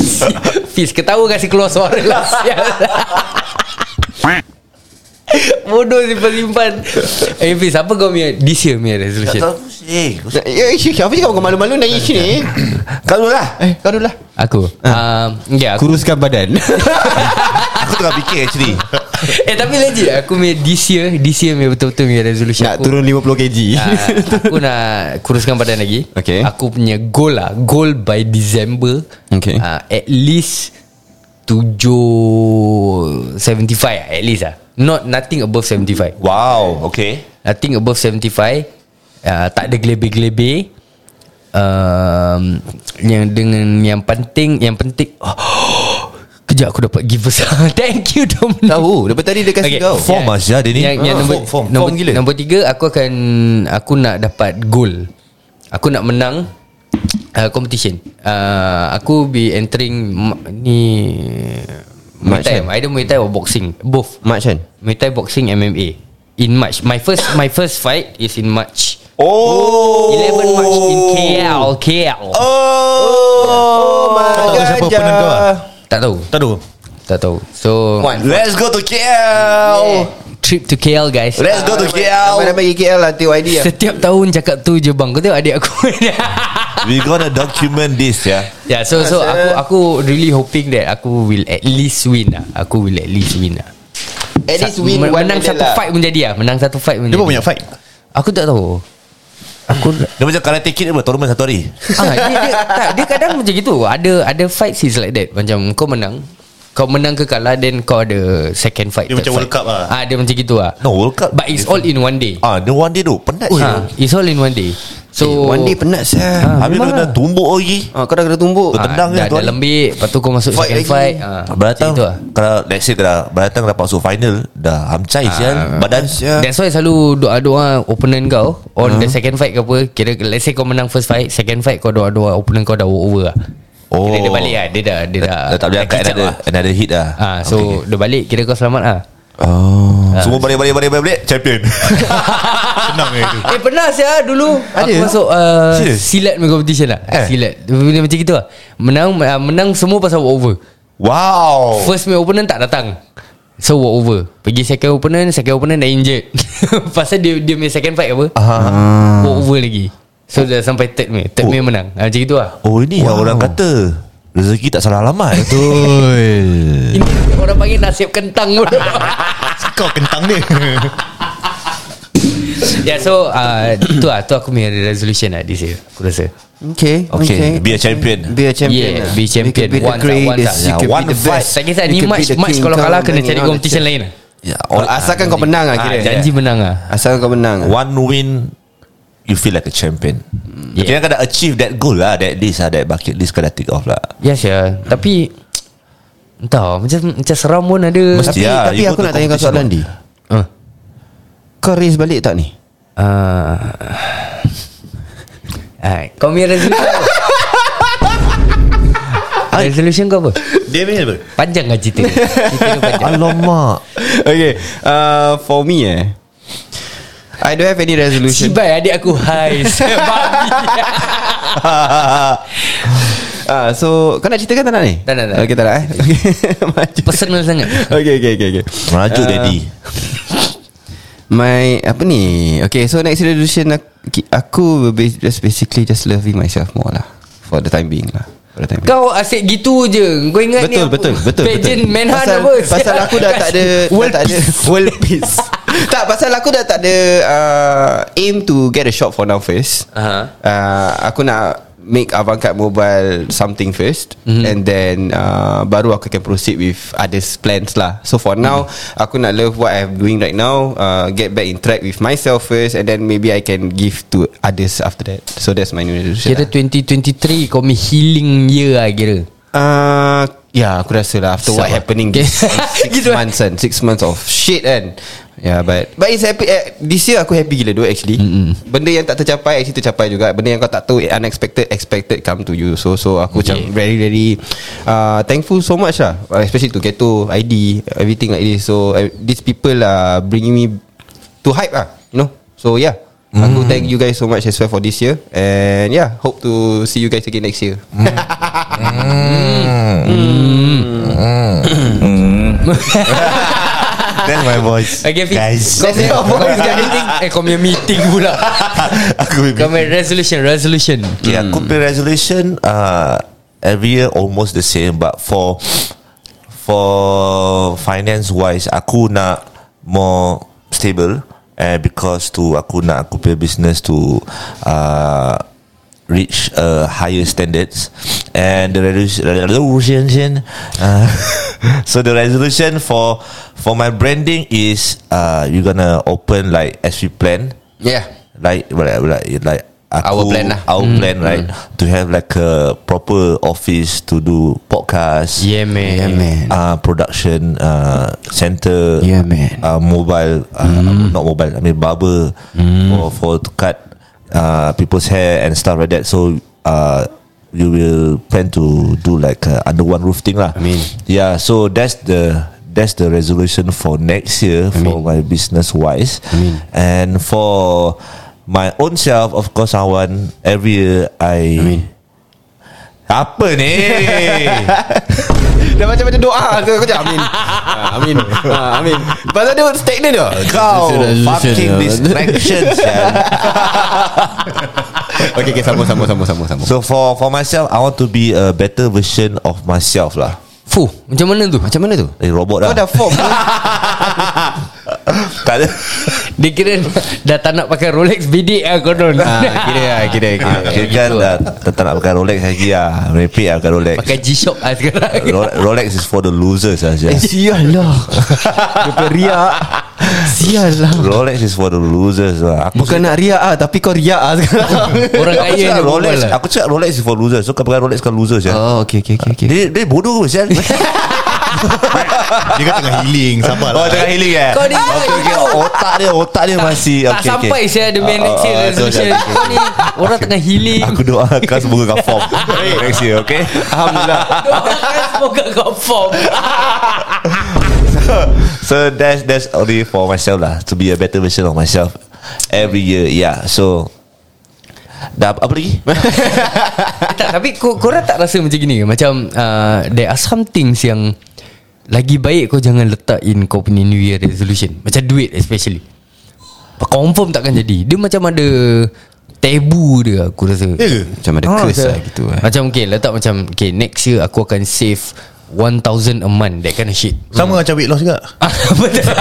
C: Fiz ketawa kasih keluar suara lah sial. Bodoh simpan-simpan Eh Fiz apa kau punya This year punya resolution
G: Eh
F: Ya, Apa cakap kau malu-malu naik sini
G: Kau dulu lah
F: Eh kau dulu lah
C: Aku um, Ya aku
F: Kuruskan badan
G: Aku tengah fikir actually
C: Eh tapi legit Aku punya this year This year punya betul-betul punya resolution
F: Nak
C: aku,
F: turun 50 kg
C: ah, Aku nak Kuruskan badan lagi
F: Okay.
C: Aku punya goal lah Goal by December
F: Okay.
C: ah, At least 7 75 lah At least lah Not nothing above 75
G: Wow Okay
C: Nothing above 75 uh, Tak ada gelebe-gelebe um, Yang dengan Yang penting Yang penting oh, Kejap aku dapat give us Thank you Dominic
F: Tahu Daripada tadi dia kasi
C: Okay, Ya.
F: kau
G: form lah Syah dia ni.
C: Yang, yang
G: Ah,
C: nombor,
G: form, form,
C: nombor,
G: form gila.
C: Nombor tiga Aku akan Aku nak dapat goal Aku nak menang uh, Competition uh, Aku be entering ma- Ni Muay
F: March,
C: Thai
F: kan?
C: Either Muay Thai or boxing Both
F: March kan
C: Muay Thai boxing MMA In March My first my first fight Is in March
G: Oh
C: 11 March in KL KL
G: Oh
D: Kau tahu siapa opponent kau lah
F: ah?
C: Tak tahu
D: Tak tahu
C: Tak tahu So Oh.
G: Let's go to KL
C: Trip to KL guys
G: Let's go to KL
F: Ramai-ramai pergi KL lah TYD lah
C: Setiap tahun cakap tu je bang Kau tengok adik aku
G: We gonna document this ya
C: Yeah so so aku aku really hoping that Aku will at least win lah Aku will at least win lah
F: At least win
C: Men-
F: one
C: Menang
F: medal
C: satu
F: lah.
C: fight pun jadi lah Menang satu fight pun
D: Dia pun
C: jadi.
D: punya fight
C: Aku tak tahu Aku
G: Dia macam karate kid apa Tournament satu hari
C: ah, dia, dia, tak, dia kadang macam gitu Ada ada fight is like that Macam kau menang Kau menang ke kalah Then kau ada second fight
D: Dia
C: third
D: macam
C: fight.
D: World Cup lah.
C: ah, Dia macam gitu lah
G: No World Cup
C: But it's all in one day
G: Ah, the one day tu Penat je
C: ha, It's all in one day So
F: One day penat sah
G: Ha, Habis
C: memang
G: dia dah
C: lah.
G: tumbuk lagi
F: Ah, kau dah kena tumbuk
G: Betul. tendang je
C: dah,
G: tu
C: dah
G: hari.
C: lembik Lepas tu kau masuk
F: Fight
C: fight second
F: lagi.
C: fight ah,
G: Beratang
C: macam gitu lah.
G: Kalau let's say kalau Beratang dapat masuk final Dah amcai
C: Ah,
G: sial Badan sial
C: That's why selalu doa-doa opponent kau On the second fight ke apa Kira let's say kau menang first fight Second fight kau doa-doa opponent kau dah walk over lah
G: Oh.
C: Kira dia balik lah Dia dah Dia dah,
G: Dah tak boleh angkat
C: kicap
G: another,
C: lah.
G: another hit lah
C: Ah, so okay. dia balik Kira kau selamat lah
G: Oh. Semua balik balik balik balik, balik champion.
D: Senang je tu
C: Eh pernah saya dulu Aku
G: Ada?
C: masuk uh,
G: Serious?
C: Silat punya competition lah eh.
G: Eh.
C: Silat Bila macam gitu lah Menang uh, menang semua pasal walk over
G: wow.
C: First main opponent tak datang So walk over Pergi second opponent Second opponent dah injured Pasal dia dia punya second fight apa
G: Ah.
F: Ah.
C: uh-huh. Walk over lagi So dah sampai third main
F: Oh.
C: Third main menang ha, Macam gitu lah
G: Oh ini wow. yang orang kata rezeki tak salah alamat. Betul.
C: Ini orang panggil nasib kentang
D: Kau kentang dia
C: Ya yeah, so uh, Tu lah Tu aku punya resolution lah This year Aku rasa
F: Okay
G: Okay, be a champion.
F: Be a
C: Yeah,
F: champion lah.
C: be
F: You can
C: champion.
F: be the
C: Once ah,
F: greatest
C: once ah.
F: You can
G: Yeah,
F: be
G: one
F: the
G: fight.
F: best
C: Tak kisah ni
F: You can be
C: match
F: the
C: Match
F: king,
C: kalau kalah
F: kau
C: Kena
F: menang
C: cari
F: all the
C: competition
F: shit.
C: lain lah
G: Yeah,
F: Oh, Asalkan kau menang lah kira
C: Janji menang lah
F: Asalkan kau menang lah.
G: one win you feel like a champion. Yeah. Kira kau dah achieve that goal lah, that list lah, that bucket list kau dah tick off lah.
C: Yes ya Tapi Entah Macam macam seram pun ada
G: Mesti.
F: Tapi,
G: Yeah,
F: tapi
G: you go
F: aku nak
G: to
F: tanya kau
G: competition
F: soalan
G: lah.
F: di
C: Ah.
F: Kau raise balik tak ni?
C: Ah. Ah, kau punya resolution apa? resolution kau apa?
D: Dia punya apa
C: Panjang lah cerita ni. Cerita dia panjang.
G: Alamak.
F: Okay uh, For me eh I don't have any resolution
C: Sibai adik aku Hai Babi
F: Ah, so kau nak ceritakan tak nak ni?
C: Tak nak, tak nak.
F: Okay, tak nak eh. Okay. Maju.
C: Personal sangat
F: Okay, okay, okay, okay.
G: Merajuk
C: Uh.
F: Ah,
G: daddy.
F: My apa ni? Okay, so next resolution aku, aku will be just basically just loving myself more lah for the time being lah. For the time being.
C: Kau asyik gitu je Kau ingat ni
F: Betul,
C: apa?
F: betul, betul,
C: Pageant
F: betul.
C: manhunt
F: pasal,
C: apa
F: Pasal aku dah tak ada
C: World
F: dah tak ada world peace. tak pasal aku dah tak ada uh, aim to get a shop for now first.
C: Aha.
F: Uh, aku nak make Avangkat Mobile something first
C: Mhm.
F: mm-hmm. and then uh, baru aku can proceed with others plans lah. So for now
C: Mhm.
F: mm-hmm. aku nak love what I'm doing right now, uh, get back in track with myself first and then maybe I can give to others after that. So that's my new resolution.
C: Kira
F: lah.
C: 2023 Kau punya healing year lah kira
F: Uh, ya aku rasa lah After what
C: Sabar.
F: happening
C: Okay.
F: this Six
C: Gitu lah.
F: months kan Six months of shit kan Yeah but But it's happy eh, This year aku happy gila though actually mm-hmm. Benda yang tak tercapai Actually tercapai juga Benda yang kau tak tahu eh, Unexpected Expected come to you So so aku yeah. macam Very very uh, Thankful so much lah Uh, Especially to Keto ID Everything like this So I, These people are Bringing me To hype lah You know So yeah mm. Aku
C: Mm-hmm.
F: thank you guys so much as well for this year And yeah Hope to see you guys again next year
G: That's my voice.
C: Okay Fiz
G: Guys.
C: Kau punya voice meeting Eh kau punya meeting pula
G: Aku
C: Kau punya resolution Resolution
G: Okay, aku punya resolution uh, every year almost the same, but for for finance wise aku nak more stable and because tu aku nak aku punya business to uh, reach uh, higher standards and the redu- resolution uh, so the resolution for for my branding is uh, you're gonna open like as we plan
F: Yeah
G: like like like, like aku,
F: Our plan lah.
G: our plan right to have like a proper office to do podcast
C: Yeah, man. Yeah, man.
G: uh, production uh, center
C: Yeah, man.
G: uh, mobile uh, not mobile I mean barber for, for to cut uh, people's hair and stuff like that so uh, you will plan to do like uh, under one roof thing lah I mean yeah so that's the that's the resolution for next year for my business wise and for my own self of course I want every year I, apa ni
F: Dah macam macam doa ke Kau cakap amin Ah, Amin Ah, Amin Pasal dia stagnant dia
G: Kau fucking distractions man.
F: Okay okay sama sama sama sama sama.
G: So for for myself I want to be a better version of myself lah
C: Fuh, macam mana tu? Macam mana tu?
G: Eh robot
F: Kau
G: dah
F: dah form
G: Tak ada
C: Dia kira dah tak nak pakai Rolex bidik lah konon.
F: Ah, Kira lah kira
C: Ah,
F: kira
G: Kira kan dah Tak tak nak pakai Rolex lagi lah Merepek lah pakai Rolex
C: lah. Pakai G-Shock lah sekarang. Eh,
G: Ro- Rolex is for the losers ah, saja.
B: Sial lah Dia punya riak Sial lah
G: Rolex is for the losers lah. Aku
F: Bukan nak riak ah Tapi kau riak ah sekarang
C: Orang
G: aku
C: kaya
G: cakap
C: ni
G: Rolex,
C: Rolex. Lah.
G: aku cakap Rolex is for losers. So kau pakai Rolex kau losers ya.
F: Oh okay okay okay, okay.
G: Dia dia bodoh ke sial.
D: Dia kan tengah healing Sabar
G: Oh
D: lah
G: tengah healing eh.
C: Kau ni-
G: okay, okay. Otak dia otak dia masih
C: Tak
G: okay,
C: sampai
G: okay.
C: saya ada main
G: Oh,
C: next year
G: oh, oh,
C: resolution.
G: sorry,
C: Kau ni orang tengah healing.
G: Aku doa kau semoga kau form next year okay. Um,
F: Alhamdulillah
C: Doakan semoga kau form.
G: So that's that's only for myself lah to be a better version of myself every year. Yeah. So dah apa lagi?
C: tak, tapi kau korang tak rasa macam gini ke? Macam uh, there are some things yang lagi baik kau jangan letak in kau punya new year resolution. Macam duit especially. Confirm takkan jadi. Dia macam ada tabu dia aku rasa.
D: Ya ke?
F: Macam ada curse lah gitu eh.
C: Macam okay letak macam okay next year aku akan save 1000 a month that kind of shit.
D: Sama macam weight loss juga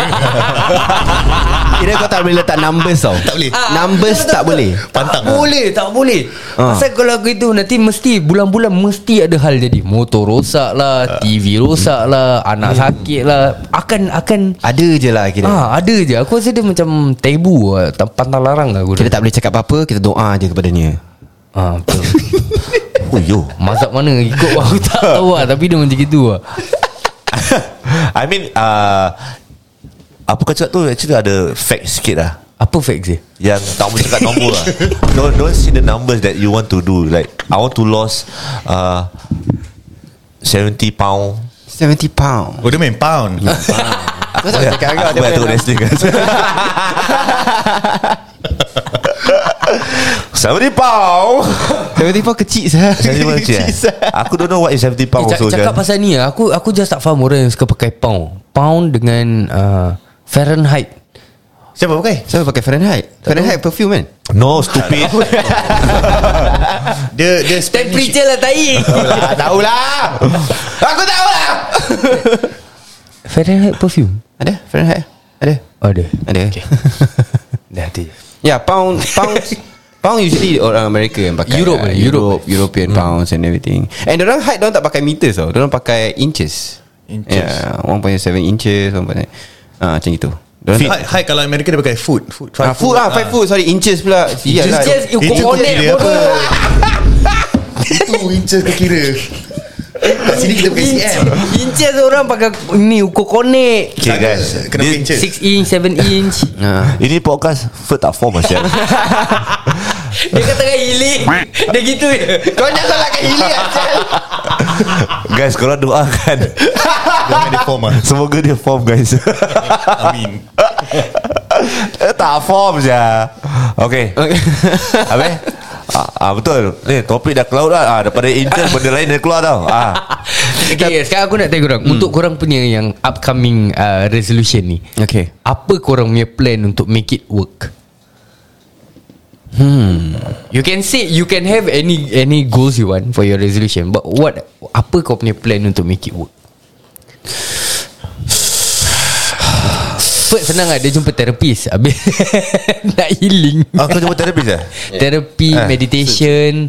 F: Ah, Kira kau tak boleh letak numbers tau Ah,
D: Tak boleh
F: Numbers tak boleh Ah,
D: Pantang
C: Tak boleh Tak boleh Pasal kalau gitu Nanti mesti Bulan-bulan mesti ada hal jadi Motor rosak lah TV rosak lah Anak sakit lah Akan Akan
F: Ada je lah kira
C: Ah, ada je Aku rasa dia macam Tabu lah. Tak- Pantang larang lah aku
F: Kita tak boleh cakap apa-apa Kita doa je kepada dia
C: ah, betul.
G: Oh yo.
C: Mazhab mana ikut Aku tak tahu lah Tapi dia macam gitu lah
G: I mean uh, apa kau cakap tu actually ada fact sikit lah.
C: Apa facts dia?
G: Yang tak boleh cakap nombor lah don't, don't see the numbers That you want to do Like I want to lose uh, 70 pound
F: 70 pound
D: Oh dia main pound
F: Kau tak boleh cakap
G: Oh,
F: kau
G: ya. Aku banyak
F: dia main
G: tengok
F: lah.
G: wrestling kan Seventy pound
F: 70 pound kecil sah
G: Seventy pound kecil eh? Aku don't know what is seventy
C: Eh,
G: pound
C: cak-
G: also
C: cakap
G: kan
C: pasal ni lah. Aku aku just tak faham orang yang suka pakai pound Pound dengan uh, Fahrenheit
D: Siapa pakai?
F: Siapa pakai Fahrenheit Fahrenheit perfume kan
G: No stupid
D: Dia dia Spanish
C: Temperature lah tai
F: Tak tahulah Aku tahu lah
C: Fahrenheit perfume Oh,
F: Ada Fahrenheit Ada
C: Ada
F: Ada
C: Dah ada
F: Ya pound Pound Pound usually orang Amerika yang pakai
C: Europe
F: lah.
C: eh,
F: Europe Hmm. European pounds and everything And orang height Diorang tak pakai meters tau Diorang pakai inches Ya,
D: Inches.
F: yeah, 1.7 inches 1.9 Ah, Macam gitu Diorang
D: Hi,
F: tak-
D: hi kalau Amerika dia pakai food Food
F: Ah, food lah Five foot Sorry inches pula Sial lah.
C: Just you
D: Itu
C: Ya, connect
D: kira apa
C: bodoh.
D: Itu inches ke kira Kat sini kita pakai
C: Inches
D: CM
C: Inches orang pakai Ni ukur konek
G: Okay guys
D: Kenapa
G: This-
D: inches?
C: 6 inch 7 inch
F: Ah.
G: Ini podcast Food tak form ah, macam
C: Dia kata kan hilik Dia gitu je
F: Kau jangan salahkan hilir
G: Guys korang doakan
D: Jangan dia
G: ah.
D: form lah
G: Semoga dia form guys
D: Amin
G: Eh, tak form je Okay Habis ah, ah, Betul Ni topik dah keluar dah ah, Daripada intern Benda lain dah keluar tau ah.
C: Okay sekarang aku nak tanya korang Untuk korang punya yang Upcoming uh, resolution ni
F: Okay
C: Apa korang punya plan Untuk make it work Hmm You can say You can have any Any goals you want For your resolution But what Apa kau punya plan Untuk make it work Effort senang lah Dia jumpa terapis Habis Nak healing
G: Ah, kau jumpa terapis eh?
C: Terapi
G: Ah.
C: Meditation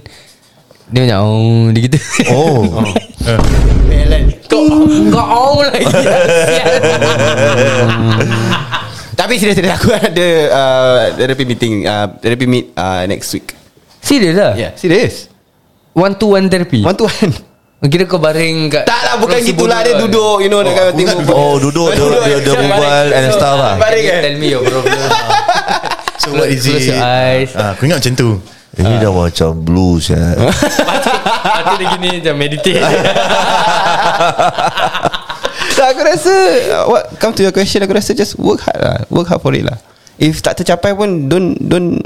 C: Dia macam Oh Dia gitu
G: Oh
C: Kau
D: Eh.
C: Kau oh lagi
F: Tapi serius serius aku ada uh, therapy meeting uh, therapy meet uh, next week.
C: Serius lah
F: Yeah, serius.
C: One to one therapy
F: One to one.
C: Kira kau baring kat
F: Tak lah bukan
C: kerusi
F: gitulah
C: bodoh
F: dia
C: lah.
F: duduk you know dekat tengok.
G: Oh duduk Dia, dia, dia berbual And stuff lah
C: Can
F: Baring
C: you
F: kan?
C: Tell me your problem
D: So what is
C: Close
D: it
C: your eyes.
D: ah, Aku ingat macam tu
G: Ini dah macam blues ya.
C: Lepas tu dia gini Macam meditate
F: Tak aku rasa uh, what come to your question aku rasa just work hard lah. Work hard for it lah. If tak tercapai pun don't don't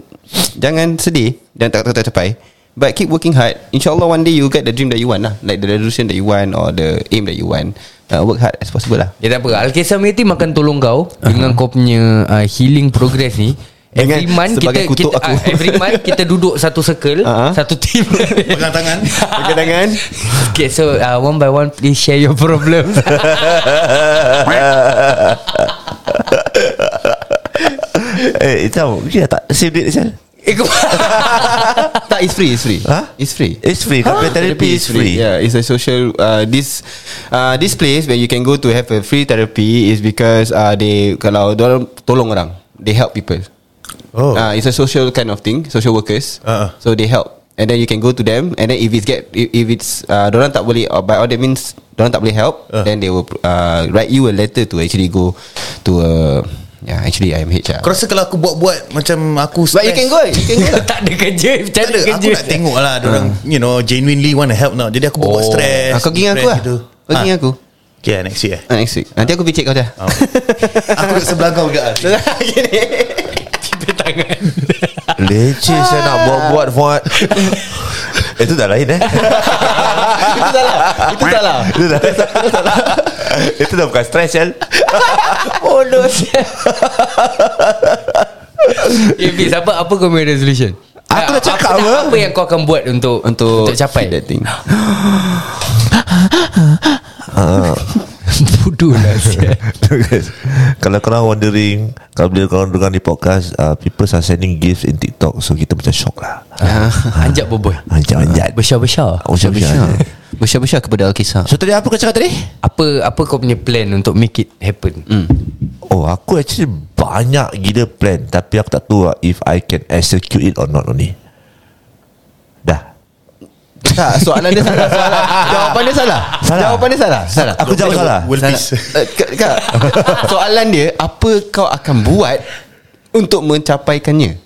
F: jangan sedih dan tak tak tercapai. But keep working hard. InsyaAllah one day you get the dream that you want lah. Like the resolution that you want or the aim that you want. Uh, work hard as possible lah.
C: Ya tak apa Alkisah Meti makan tolong kau uh-huh. Dengan kau punya uh, Healing progress ni Every
F: Dengan
C: month kita,
F: sebagai kutuk
C: kita
F: aku.
C: ah, Every month kita duduk Satu circle
F: Ah.
C: uh-huh. Satu team
D: Pegang tangan
F: Pakai tangan.
C: Okay so uh, One by one Please share your problems
G: eh, tahu, dia tak save duit sel.
C: Eh kau
F: tak, it's free, it's free.
G: Huh?
F: It's free.
G: It's free. Huh? Therapy Ha, is free.
F: Yeah, it's a social. Uh, this uh, this place where you can go to have a free therapy is because uh, they kalau dorang tolong orang, they help people.
D: Oh.
G: Ah.
F: uh, it's a social kind of thing, social workers.
D: Uh-uh.
F: So they help, and then you can go to them, and then if it's get if, if it's uh, dorang tak boleh or by all that means dorang tak boleh help,
D: Uh.
F: then they will uh, write you a letter to actually go to a yeah actually IMH lah.
D: Kau rasa kalau aku buat-buat Macam aku
F: ah. But you
D: stress,
F: can go, you can go. lah.
C: Tak ada kerja Macam
D: Eh, tak
C: ada
D: ada, aku
C: kerja
D: nak tengok lah Diorang you know Genuinely want to help now Jadi aku buat-buat
F: Oh.
D: stress
F: Ah, kau pergi dengan aku lah.
D: depressed
F: Kau pergi
D: Ah. Oh,
F: dengan aku.
D: Okay lah next week eh
F: Ah, next week. Nanti aku picit kau dah.
D: Aku duduk sebelah kau juga
G: Leceh saya nak buat-buat Fuad Itu dah lain eh
F: Itu salah. Itu salah.
G: Itu dah Itu dah bukan stress Sel
C: Bodoh Eh Fiz apa, apa kau punya resolution?
G: Aku dah cakap
C: apa,
G: apa?
C: apa yang kau akan buat untuk
F: Untuk
C: untuk capai?
F: that thing.
C: Bodoh lah sial.
G: Kalau korang wondering Kalau bila korang dengar di podcast uh, People are sending gifts in TikTok So kita macam shock Ah, lah
C: Anjak boboi
G: Anjat-anjat
C: Ah, Besar-besar
G: Besar-besar.
F: Besar-besar kepada Alkisah.
G: So tadi apa kau cakap tadi?
C: Apa apa kau punya plan untuk make it happen? Mm.
G: Oh aku actually banyak gila plan Tapi aku tak tahu lah If I can execute it or not only Dah
F: Tak, soalan dia salah. salah. Jawapan dia salah.
G: Salah.
F: Jawapan dia salah. Salah.
G: Aku jawab salah
D: World peace
F: Eh, Kak, Kak, soalan dia apa kau akan buat untuk mencapaikannya?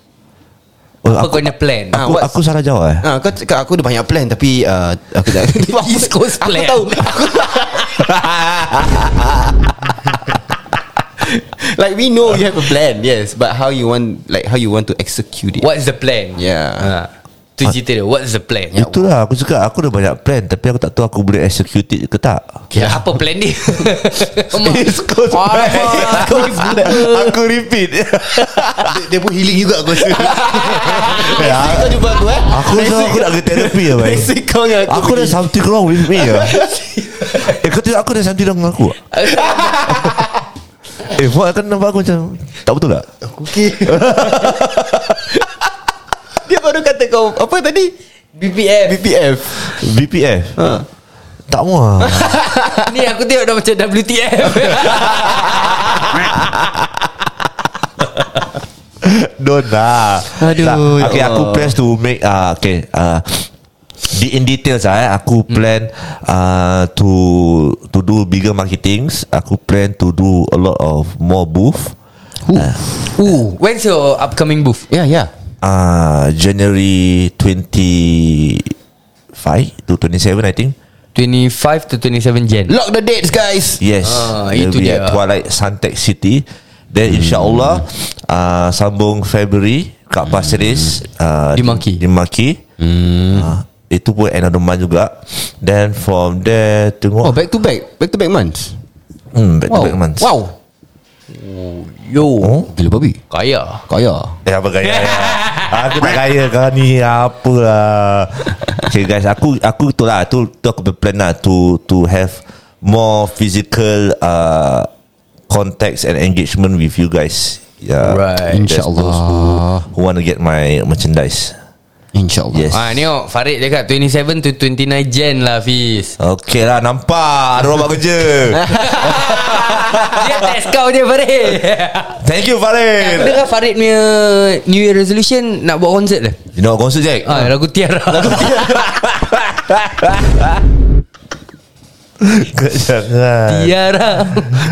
G: oh,
C: Apa
G: aku,
C: kau punya plan? Ah,
F: Ah,
G: aku,
F: what's-
G: aku salah jawab eh
F: Ha, kau cakap aku ada banyak plan tapi uh, aku tak
C: East Coast plan.
F: Aku tahu. Aku like we know you have a plan, yes, but how you want like how you want to execute it.
C: What's the plan?
F: Yeah.
C: Ha.
G: Ah.
C: Tu cerita dia What's the plan? Ya,
G: Itulah aku cakap Aku dah banyak plan Tapi aku tak tahu Aku boleh execute it ke tak
C: okay. Apa plan dia?
G: East Coast plan.
C: Alamak.
G: Aku repeat. Aku repeat
D: Dia- Dia pun healing juga aku rasa
G: Ya,
F: Kau jumpa aku eh?
G: Aku rasa aku nak ke terapi ya baik
F: Basic kau dengan aku.
G: Aku ada something wrong with me ya. Eh kau tengok aku ada something wrong dengan aku ah? Eh Fuad kan nampak aku macam Tak betul tak?
F: Dia baru kata kau apa tadi?
C: BPM
F: BPF.
G: BPF Tak ah? muah
C: Ni aku tengok dah macam WTF
G: Don't lah
F: Aduh,
G: Tak,
F: ya
G: Okay aku
F: Allah.
G: plans to make uh, Okay uh, di in details ah eh, aku plan uh, to to do bigger marketings aku plan to do a lot of more booth
C: Ooh, When's your upcoming booth?
G: Ya,
F: Yeah, yeah.
G: uh, January 25 to 27 I think
C: 25 to 27 Jan
F: Lock the dates guys.
G: Yes
C: Ah,
G: It
C: itu
G: will be
C: dia. Hmm.
G: at Twilight Suntec City Then insyaAllah uh, Sambung Februari Kat Pasir Ris uh,
C: Hmm. Di Maki. Hmm.
G: Di Maki uh, Itu pun another month juga Then from there Tengok
F: Oh, back to back. Back to back months.
G: hmm, back to back months
F: Wow.
C: Yo
G: oh.
F: Gila babi.
C: Kaya
F: Kaya.
G: Eh apa gaya Aku tak gaya kau ni Apa lah Okay guys Aku aku tu lah Tu, tu aku berplan lah To, to have More physical uh, contacts and engagement with you guys. Yeah,
C: Right.
G: That's Those who,
B: InsyaAllah.
G: who want to get my merchandise.
B: InsyaAllah
G: Yes.
C: Ah, tengok Farid cakap 27 to 29 Jan lah Fiz
G: Okay lah nampak Ada orang buat kerja
C: Dia test kau je Farid
G: Thank you
C: Aku
G: Farid
C: dengar Farid punya New Year resolution Nak buat konsert lah
G: You know concert Jack
C: Ah, lagu Tiara Lagu Tiara
G: Jangan
C: Tiara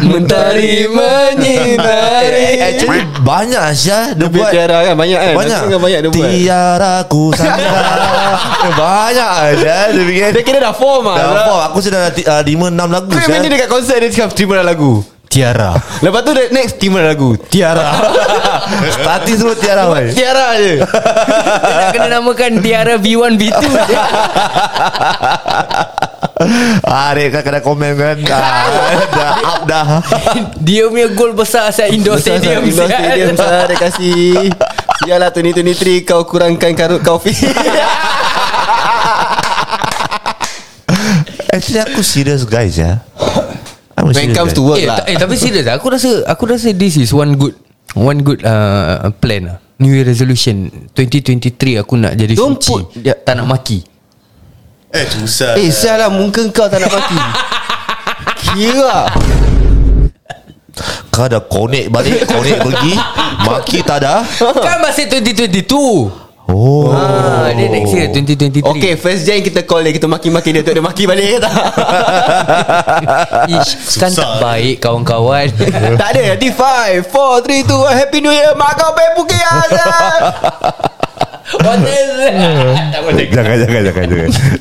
C: Mentari
G: Eh,
C: menyinari
G: Actually banyak Asia Dia buat
F: Tiara kan banyak kan
G: Banyak
F: Aku ingat banyak dia buat
G: Tiara ku sandra Eh, Banyak Asia Dia fikir
F: Dia kira dah form
C: ah.
F: lah
G: Dah apa Aku sudah uh, 5-6 lagu
F: Dia main
G: Syah.
F: dia dekat konsert Dia cakap terima dah lagu
D: Tiara
F: Lepas tu the next terima dah lagu
D: Tiara
G: Starting semua Tiara boy.
F: Tiara je
C: Dia nak kena namakan Tiara V1 V2
G: Ah, dia kan kena komen kan ah, Dah up dah
C: Dia punya goal besar Asal indoor stadium
F: Indoor
C: sial.
F: stadium sah Dia kasi Sialah 2023 Kau kurangkan karut kau Fiz
G: Actually aku serious guys ya I'm a serious
F: When it comes
G: guy.
F: to work
C: eh,
F: lah
C: ta- eh, tapi serius lah. aku rasa aku rasa this is one good one good uh, plan lah. New Year resolution 2023 aku nak jadi
F: Don't
C: suci.
F: put- Ya.
C: tak nak maki.
D: Eh susah
F: Eh sialah Muka kau tak nak mati Kira
G: Kau dah connect balik Connect pergi Maki tak ada
C: kan masih 2022.
G: Oh
C: Ah, dia next year 2023.
F: Okay first Jan kita call dia Kita maki-maki dia Tu dia maki balik ke tak
C: Ish, kan
D: Susah.
C: tak baik kawan-kawan.
F: Tak ada Nanti 5 4 3 2 Happy New Year Mak kau pengen pukul Azan
C: What is that?
G: Jangan jangan jangan jangan Jangan jangan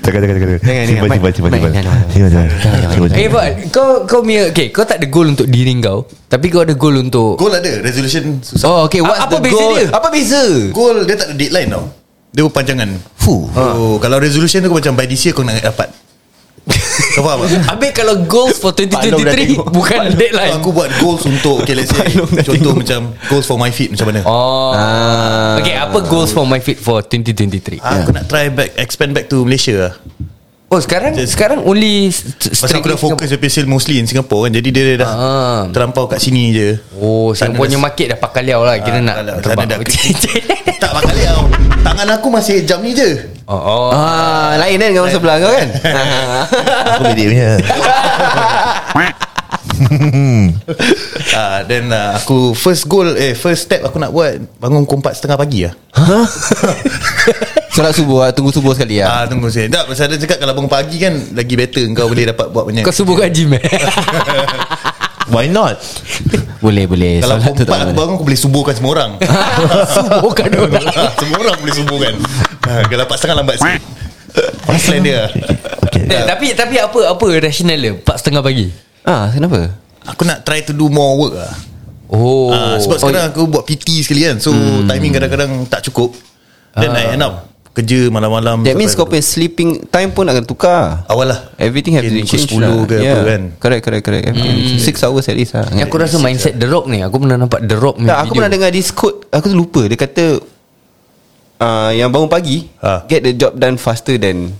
G: jangan
F: Jangan,
G: Simpan
F: jangan.
G: simpan simpan simpan
F: Main, main, main,
G: Simpan simpan Simpan,
C: Eh,
G: simpan.
C: Fad, kau kau punya okay, kau tak ada goal untuk diri kau, tapi kau ada goal untuk
D: Goal ada Resolution susah
C: Oh, okay, what's
F: Apa
C: the
F: beza
C: goal?
F: dia Apa beza
D: Goal dia tak ada deadline tau Dia berpanjangan Fuh oh, Kalau resolution tu kau macam By this year kau nak dapat Kau faham tak?
C: Habis kalau goals for
D: Palung
C: 2023
D: dah tengok.
C: bukan deadline.
D: Aku buat goals untuk Okay let's say Contoh macam Goals for my feet macam mana
C: Oh. Okay, apa goals for my fit for 2023?
F: Ah.
D: Ah, Aku nak try back Expand back to Malaysia lah
C: Oh, sekarang
D: Just-
C: sekarang only s- s-
D: Pasal
C: strictly
D: aku dah fokus Dia pesil mostly in Singapore kan Jadi dia dah
C: Ah.
D: Terlampau kat sini je
C: Singapore. Oh, Singapore punya
D: dah-
C: market dah pakal liau lah kira
D: Ah,
C: nak
D: tak
C: terbang.
D: ada- tak ada dah- Tak bakal tau Tangan aku masih jam ni je
C: oh, oh.
F: Ah, lain kan dengan orang sebelah kau kan?
G: Aku bedek punya
D: Ah, Then ah, aku First goal Eh first step aku nak buat Bangun pukul 4.30 pagi lah
F: Solat subuh ah, tunggu subuh sekali ah.
D: Ah tunggu saya. Tak pasal dia cakap kalau bangun pagi kan lagi better kau boleh dapat buat banyak.
C: Kau subuh kat gym eh?
G: Why not
F: Boleh boleh.
D: kalau pukul 4 aku bangun aku boleh subuhkan semua orang.
C: subuh kat orang.
D: Ah, semua orang boleh subuhkan. Ah, kalau dapat setengah lambat sikit. Plan dia.
G: Okay
C: Eh, tapi tapi apa apa rasional dia? 4.30 pagi.
F: Ah, kenapa?
D: Aku nak try to do more work lah.
C: Oh.
D: Ah, sebab sekarang aku buat PT sekali kan. So timing kadang-kadang tak cukup. Then I end up kerja malam-malam.
F: That means
D: sampai
F: kau punya sleeping time pun akan tukar.
D: awal lah.
F: Everything have to
D: Mungkin
F: change lah.
D: pukul 10 ke apa kan.
F: Correct, correct, correct. Everything Six hours at least lah.
C: Ni Eh, aku rasa mindset The Rock ni Aku pernah nampak The Rock
F: Tak, aku pernah dengar this quote. Aku tu lupa. Dia kata, uh, yang bangun pagi,
D: Ah.
F: get the job done faster than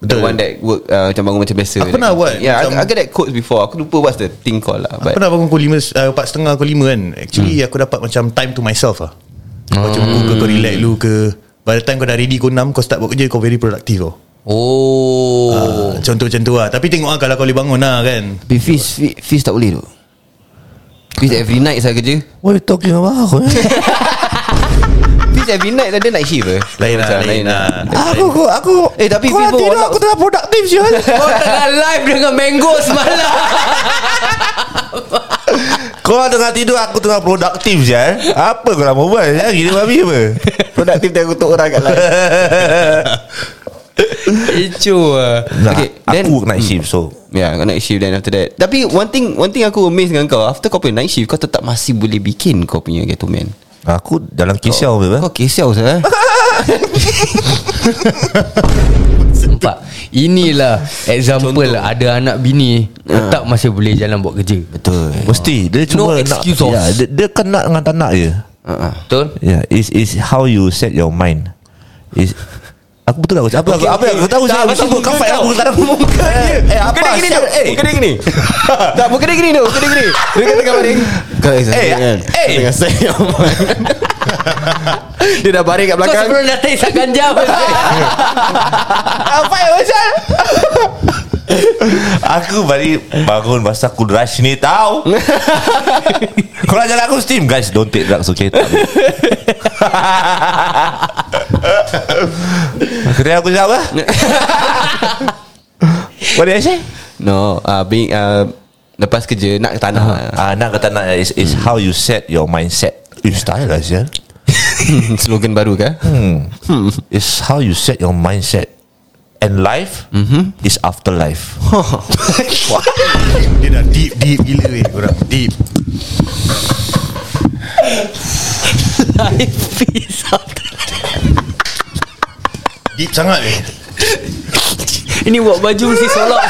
F: The
D: Betul.
F: one that work uh, Macam bangun macam biasa
D: Aku pernah buat
F: Yeah,
D: macam-
F: I, I get that quote before Aku lupa what's the thing called lah
D: Aku
F: But
D: nak bangun pukul 5 uh, 4.30 pukul 5 kan Actually hmm. aku dapat macam Time to myself lah Macam hmm. kau, kau relax dulu ke By the time kau dah ready Kau 6 Kau start buat kerja Kau very productive tau
C: Oh
D: oh. Contoh macam tu lah Tapi tengok lah Kalau kau boleh bangun lah kan
F: Ah. Tapi Fiz Fiz- Fiz tak boleh tu Fiz every night saya kerja
G: What you talking about
F: Fiz every night Dia night shift eh
D: Lain lah
F: Macam
D: Lain lah
G: Aku aku aku
F: Eh, tapi
G: Kau
F: Vivo
G: tidur
F: one
G: aku
F: out-
G: tengah produktif Syul
C: Kau tengah Oh, live dengan Mango semalam
G: Kau tengah tidur Aku tengah produktif Syul Apa kau nak buat Syul Ya, Gila babi apa
F: Produktif dia kutuk orang kat lain
C: Ecu lah
G: nah,
F: Okay,
G: okay,
F: then-
G: Aku work night shift so
F: Ya yeah, kau night shift then after that Tapi one thing One thing aku amazed dengan kau After kau punya night shift Kau tetap masih boleh bikin Kau punya Ghetto Man
G: Aku dalam kisah apa
F: Kau kisah usah eh?
C: Nampak Inilah Example lah Ada anak bini
F: Ha.
C: Tetap masih boleh jalan buat kerja
G: Betul Mesti Dia
C: No
G: cuma nak
C: excuse of-
G: ya, dia, dia kena dengan tak nak je
B: Ah,
G: Ya,
F: uh-huh.
C: Betul
G: Yeah, it's it's how you set your mind. Is Aku betul lah Apa aku apa yang aku tahu saya Aku kau fight aku tak ada muka dia. Eh
F: Muka
G: apa
F: dia gini tu
G: sial?
F: Eh muka dia gini Tak muka dia gini tu Muka dia gini Dia kata kau baring
B: Kau excited
G: Eh,
B: kan
G: eh.
B: Kau Dengan saya
F: Dia dah baring kat
C: Kau
F: belakang
C: sebelum datang isap ganja pun
G: Ah,
F: Apa yang macam
G: Aku balik bangun Masa aku rush ni tau Korang jalan aku steam Guys don't take drugs okay tak boleh. Aku tengok aku jawab lah What did I say?
B: No uh, being, uh, Lepas kerja Nak ke tanah uh,
G: Ah, nak kata nak is, is how you set your mindset You style lah Zia
B: Slogan baru ke
G: It's how you set your mindset And life mm-hmm. Is afterlife
D: Dia dah deep deep gila weh korang deep. Deep sangat eh. weh.
C: Ini buat baju mesti solok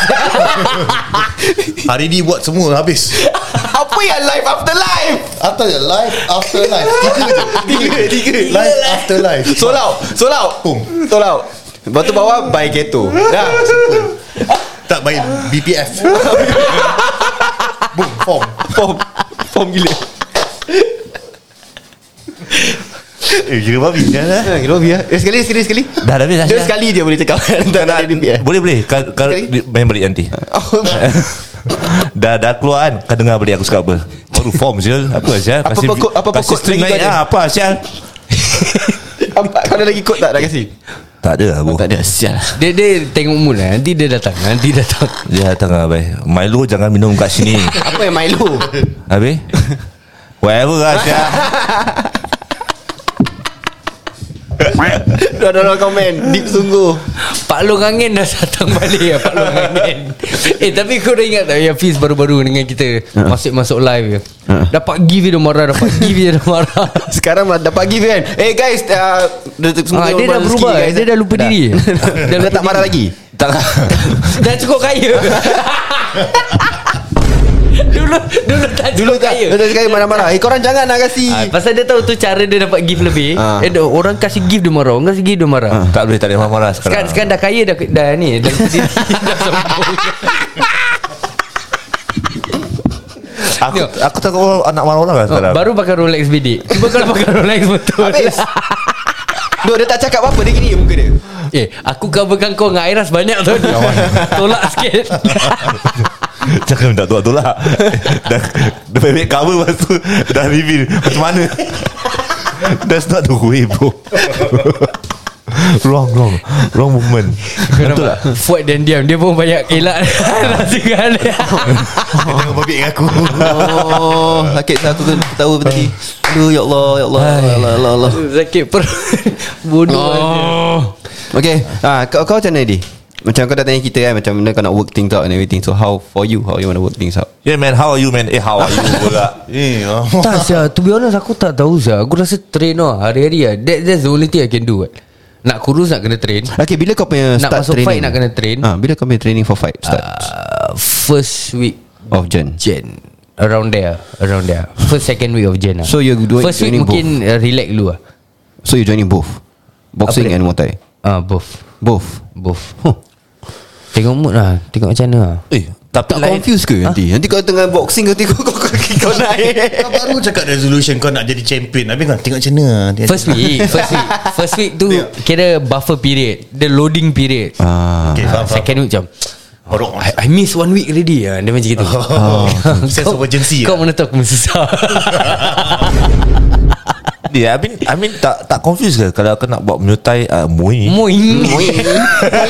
D: Hari ni buat semua habis.
F: Apa yang life after life
H: After your life After life Tiga je
F: Tiga Tiga
D: Life after life.
F: Solau Solau Solau Lepas tu bawah By ghetto Dah
D: Tak main BPF. Boom form.
F: Form Form gila
D: Eh kira babi kan lah.
F: Ha, Kira biar eh, Sekali sekali sekali
G: Dah dah habis dah
F: Dia
G: Zia.
F: sekali je boleh cakap Tak nak dia biar
G: Boleh boleh Kau, kau di- main balik nanti Dah dah keluar kan Kau dengar balik aku cakap apa Baru form Syul Apa Syul
F: Apa pokok- apa pokok
G: string
F: lagi kau
G: naik
F: ada?
G: ah, Apa Syul
F: Kau ada lagi kod tak dah kasi
G: Tak ada lah bro
B: Oh, Tak ada sial
C: Dia dia tengok mula Nanti dia datang Nanti datang
G: Dia datang lah abis Milo jangan minum kat sini
F: Apa yang Milo
G: Habis Whatever lah Syul
F: Dah dah dah komen Deep sungguh
C: Pak Long Angin dah datang balik ya, Pak Long Angin Eh tapi kau dah ingat tak Yang Fiz baru-baru dengan kita
F: Ha.
C: Masuk-masuk live ya. Dapat give dia marah Dapat give dia marah
F: Sekarang malah dapat give kan Eh guys uh, dia, eh.
C: Ah, dia dah berubah Dia dah lupa diri
F: kan? Dia dah tak marah lagi
G: Tak
C: Dah cukup kaya Dulu Dulu tak
F: Dulu
C: cukup
F: tak
C: kaya
F: Dia dah sekali marah-marah Eh korang jangan nak kasi
C: Ah, pasal dia tahu tu cara dia dapat gift lebih.
F: Ah.
C: Eh, dia- orang kasih gift dia marah, orang kasih gift dia marah.
G: Tak boleh tak boleh marah
C: Sekarang
G: sekarang
C: sekarang dah kaya dah dah ni dah dah sombong.
G: Aku, aku tak tahu anak marah orang lah sekarang
C: Baru pakai Rolex bidik. Cuba kalau pakai Rolex betul.
F: Habis Duh, Dia tak cakap apa-apa Dia gini je muka dia
C: Eh, aku coverkan kau dengan Airas banyak tau
F: Ya,
C: ni. Tolak sikit.
G: Jangan minta tuak tolak Dah Dah bebek cover Lepas tu Dah reveal Macam mana That's not the way bro Wrong wrong Wrong movement
C: Kau nampak? Fuad dan diam Dia pun banyak elak Rasikan
D: Kau Jangan babi dengan aku.
F: Oh Sakit satu tu Ketawa tadi Aduh ya Allah Ya Allah Ya Allah, ya Allah.
C: Sakit perut Bodoh oh.
F: Okay ah, kau, kau macam mana dia? Macam kau dah tanya kita kan Macam mana kau nak work things out And everything So how for you How you want to work things out
G: Yeah man how are you man Eh how are you pula
D: Eh, ah.
C: Tak Syah To be honest aku tak tahu Syah Aku rasa train lah Hari-hari lah That, That's the only thing I can do kan Nak kurus nak kena train
F: Okay bila kau punya
C: Nak
F: start
C: masuk
F: training
C: fight, nak kena train.
F: ah, Bila kau punya training for fight Start
C: uh, First week
F: Of Jan
C: Jan Around there Around there First second week of Jan lah
F: So you doing-
C: First week
F: doing
C: mungkin uh, relax dulu lah
F: So you joining both Boxing
C: Apa dia?
F: and Muay Thai
C: uh, Both
F: Both
C: Both huh. Tengok mood lah Tengok macam mana lah
F: Eh
G: Tapi
F: tak
G: lain-
F: confuse ke nanti Nanti kau tengah boxing Nanti kau, kau, kau, kau naik
D: Kau baru cakap resolution kau nak jadi champion. Habis kau tengok macam mana. Tengok
C: First
D: macam mana.
C: week First week First week tu Kira buffer period The loading period
F: ah.
D: Okay, Eh,
C: Ah,
D: faham, faham.
C: Second week macam
D: Borok.
C: I, I miss one week already ah. Dia macam gitu
D: Oh, sense of urgency
C: Kau mana
D: lah.
C: tahu aku sesat
G: yeah, I mean I mean tak tak confused ke Kalau aku nak buat Muay Thai uh, Muay
C: Moing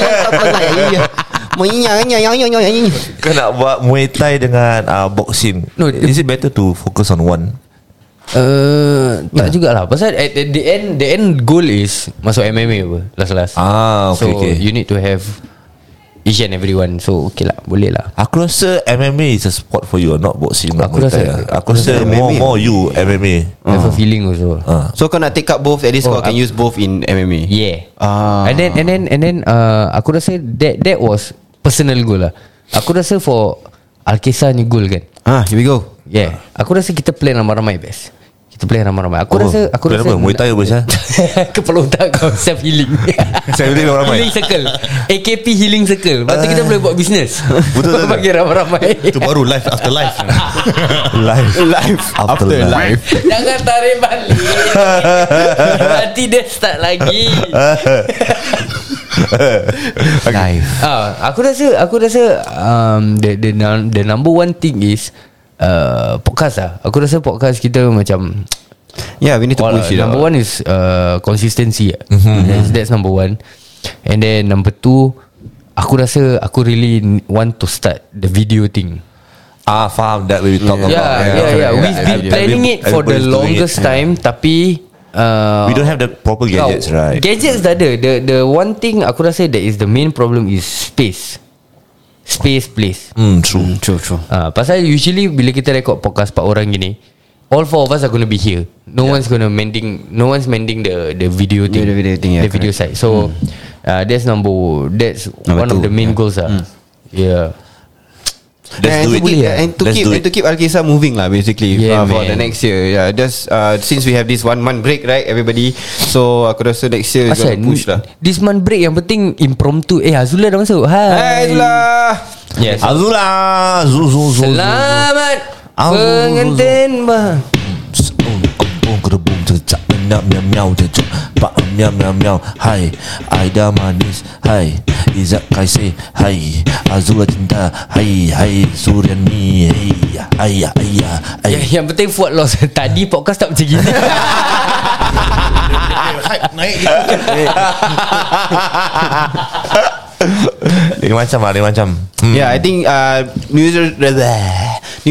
G: eh. Kau nak buat Muay Thai dengan uh, Boxing
C: No,
G: no, Is it better to Focus on one
C: Uh,
G: Ya.
C: tak jugalah Pasal at the, the end The end goal is Masuk MMA apa Last-last
G: Ah, okay,
C: So
G: okay.
C: you need to have Each and everyone So okay lah Boleh lah
G: Aku rasa MMA is a sport for you uh, Not boxing not
C: Aku
G: Muay
C: rasa-
G: Thai lah. Aku rasa
F: MMA.
G: more, more you MMA
C: Have a feeling also
G: Ah.
F: So kau nak take up both At least
C: Oh,
F: kau can
C: ah.
F: use both In MMA
C: Yeah
F: Ah.
C: And then And then and then uh, Aku rasa That that was Personal goal lah Aku rasa for Alkisah ni goal kan
F: Ah, Here we go
G: Ah.
C: Yeah Aku rasa kita plan ramai-ramai best Kita Kita play ramai-ramai Aku oh, rasa Aku
G: play
C: rasa
G: apa? Muay Thai apa, Syah?
C: Kepala otak kau Self healing
G: Self healing orang ramai.
C: Healing circle AKP healing circle Lepas tu kita boleh buat business
G: Betul, betul, betul.
C: Bagi ramai-ramai
D: Itu baru life after life
G: Life Life After, life,
C: Jangan tarik balik Nanti dia start lagi
G: Life
C: ah, Aku rasa Aku rasa um, the, the, num- the number one thing is uh, Podcast lah Aku rasa podcast kita macam
F: Yeah we need to
C: All-
F: push it
C: Number
F: out
C: one is uh, Consistency lah.
G: Mhm,
C: that's, that's number one And then number two Aku rasa Aku really want to start The video thing
G: Ah faham That we talk about
C: Yeah, yeah, yeah.
F: yeah.
C: We've been planning
F: Everybody-
C: it for the
G: everybody's doing
C: longest
G: it.
C: time, tapi uh,
G: We don't have the proper gadgets
C: kau-
G: right
C: Gadgets dah ada. The the one thing aku rasa that is the main problem is space, space place.
G: Hmm true
B: True true
C: Uh, pasal usually bila kita record podcast empat orang gini, all four of us are going to be here. No yeah. one's going to mending, no one's mending the the video thing,
B: The video thing, yeah, Hmm.
C: the video side. So uh, that's number that's
G: Number
C: one of
G: two,
C: the main goals ah. Yeah.
G: Let's
F: and
G: do
F: to
G: it
F: keep, And to
G: Let's
F: keep
G: do
F: and
G: it
F: to keep Alkisah moving lah basically
C: Yeah,
F: yeah, for, for
C: man.
F: the next year. Yeah, just uh, since we have this one month break right everybody. So aku rasa next year is
C: Asal
F: gonna push lah.
C: This month break Yang penting impromptu Eh Azula dah masuk Hai
F: Hai lah.
C: Yes
G: Azula Zul zul zul
C: Selamat
G: Azul.
C: Pengantin bah
G: Boom kerebum tercak Menap miam miau Cecuk Pak miam miam miau Hai Aida manis Hai Izzat Kaisi Hai Azula cinta Hai Hai Suryani Hai Hai Hai Hai
C: yang, yang penting Fuad loss Tadi podcast tak macam gini
D: Hype naik gitu
G: Lain macam lah Lain macam hmm.
F: Yeah, I think uh, new year new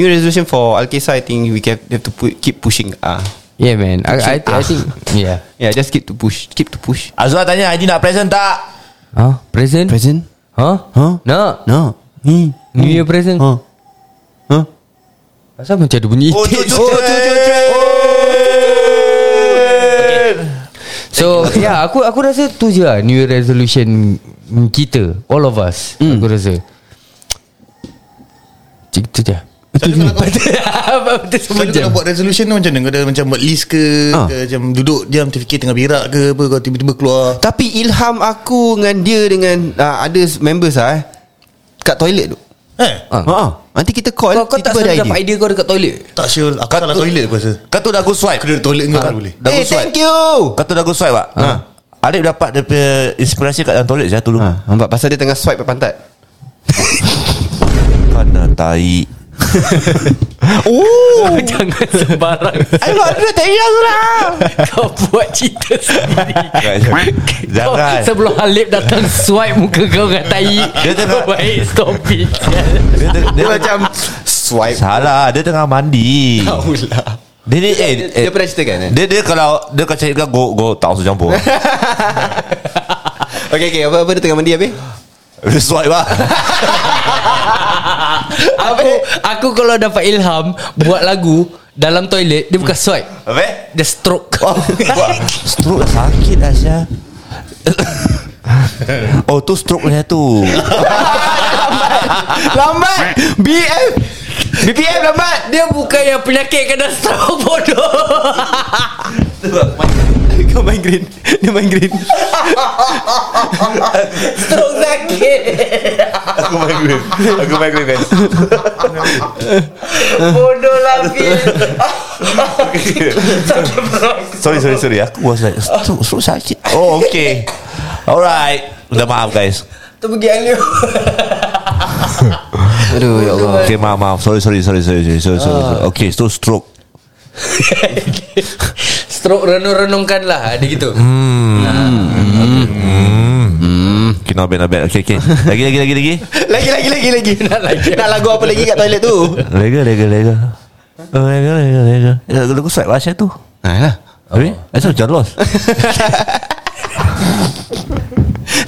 F: year resolution for Alkisah I think we can have to pu- keep pushing. Ah. Uh.
C: Yeah man I, I,
B: Ah.
C: I think Yeah
F: Yeah, just keep to push, keep to push.
G: Azula tanya Haji nak present tak
C: Huh? Present?
B: Present
C: Huh?
B: Huh?
C: No
B: No hmm.
C: New Year present
F: Ha.
B: Huh Huh
C: Pasal macam ada bunyi
G: Oh, tu, tu, tu, tu, tu, tu.
C: So yeah aku aku rasa tu je lah New Year resolution Kita All of us Aku rasa Cik tu je
D: Macam mana kau nak-
C: Apa benda
D: Macam
C: semua
D: mana kau
C: jam
D: nak buat resolution tu macam mana Kau dah macam buat list ke,
B: Ah.
D: ke Macam duduk diam terfikir tengah berak ke apa Kau tiba-tiba keluar
F: Tapi ilham aku dengan dia dengan uh, other members ah eh, kat toilet tu.
D: Eh
B: Ha ah. Nanti kita call
C: Kau, kau tak selalu
F: Tiba-tiba ada idea.
C: dapat idea kau dekat toilet
D: tak sure Aku salah toilet aku rasa
G: Kau tu dah aku swipe
D: Kena toilet kau tak boleh
G: Dah
F: eh,
G: aku swipe
F: thank you.
G: Kau tu dah aku swipe pak ha. Alip dapat dia punya inspirasi kat dalam toilet saya tolong.
F: Ha, nampak pasal dia tengah swipe pantat.
G: Kau nak Kan tai.
F: Oh,
C: Jangan sembarang
F: I not ada thank you lah.
C: Kau buat cerita sendiri Kau
G: Jangan.
C: sebelum Halib datang Swipe muka kau dengan tai
G: Dia tengah-
C: Kau baik stop it
G: Dia, dia,
F: Dia
G: dia
F: macam swipe.
G: salah, dia tengah mandi.
F: Taulah.
G: Dia ni eh,
F: Dia-
G: eh
F: dia pernah cerita kan, eh?
G: Dia dia kalau dia kau cari kau go go tak usah campur.
F: Okay, okay. Apa apa dia tengah mandi habis?
G: Dia swipe lah.
C: Aku Aku kalau dapat ilham Buat lagu Dalam toilet Dia bukan swipe
G: Apa?
C: Dia stroke
G: Oh, wah, stroke dah sakit Asya. Oh tu stroke dia tu.
F: Lambat. BF. BPM lambat.
C: Dia bukan yang penyakit kena stroke bodoh
F: Kau main green. Dia main green.
C: Stroke sakit
G: Aku migraine. Aku migraine guys.
C: Bodoh lah Fil
G: Sorry sorry sorry Aku was like Stroke, stroke sakit Oh okay Alright Minta maaf guys
C: Tu pergi Halib
F: Aduh, ya Allah.
G: Okay maaf maaf Sorry sorry sorry sorry sorry, sorry, sorry, sorry. Okay so stroke
C: Stroke renung-renungkan lah Dia gitu
F: Hmm.
G: Okay not bad not bad Okay okay Lagi lagi lagi lagi
F: Lagi, lagi, lagi, lagi.
C: Nak lagi.
F: Nak lagu apa lagi kat toilet tu?
G: Lega lega lega Oh lega lega lega Lagu lagu Ya, swipe Asyik tu
F: Alah.
G: Habis Asal macam lost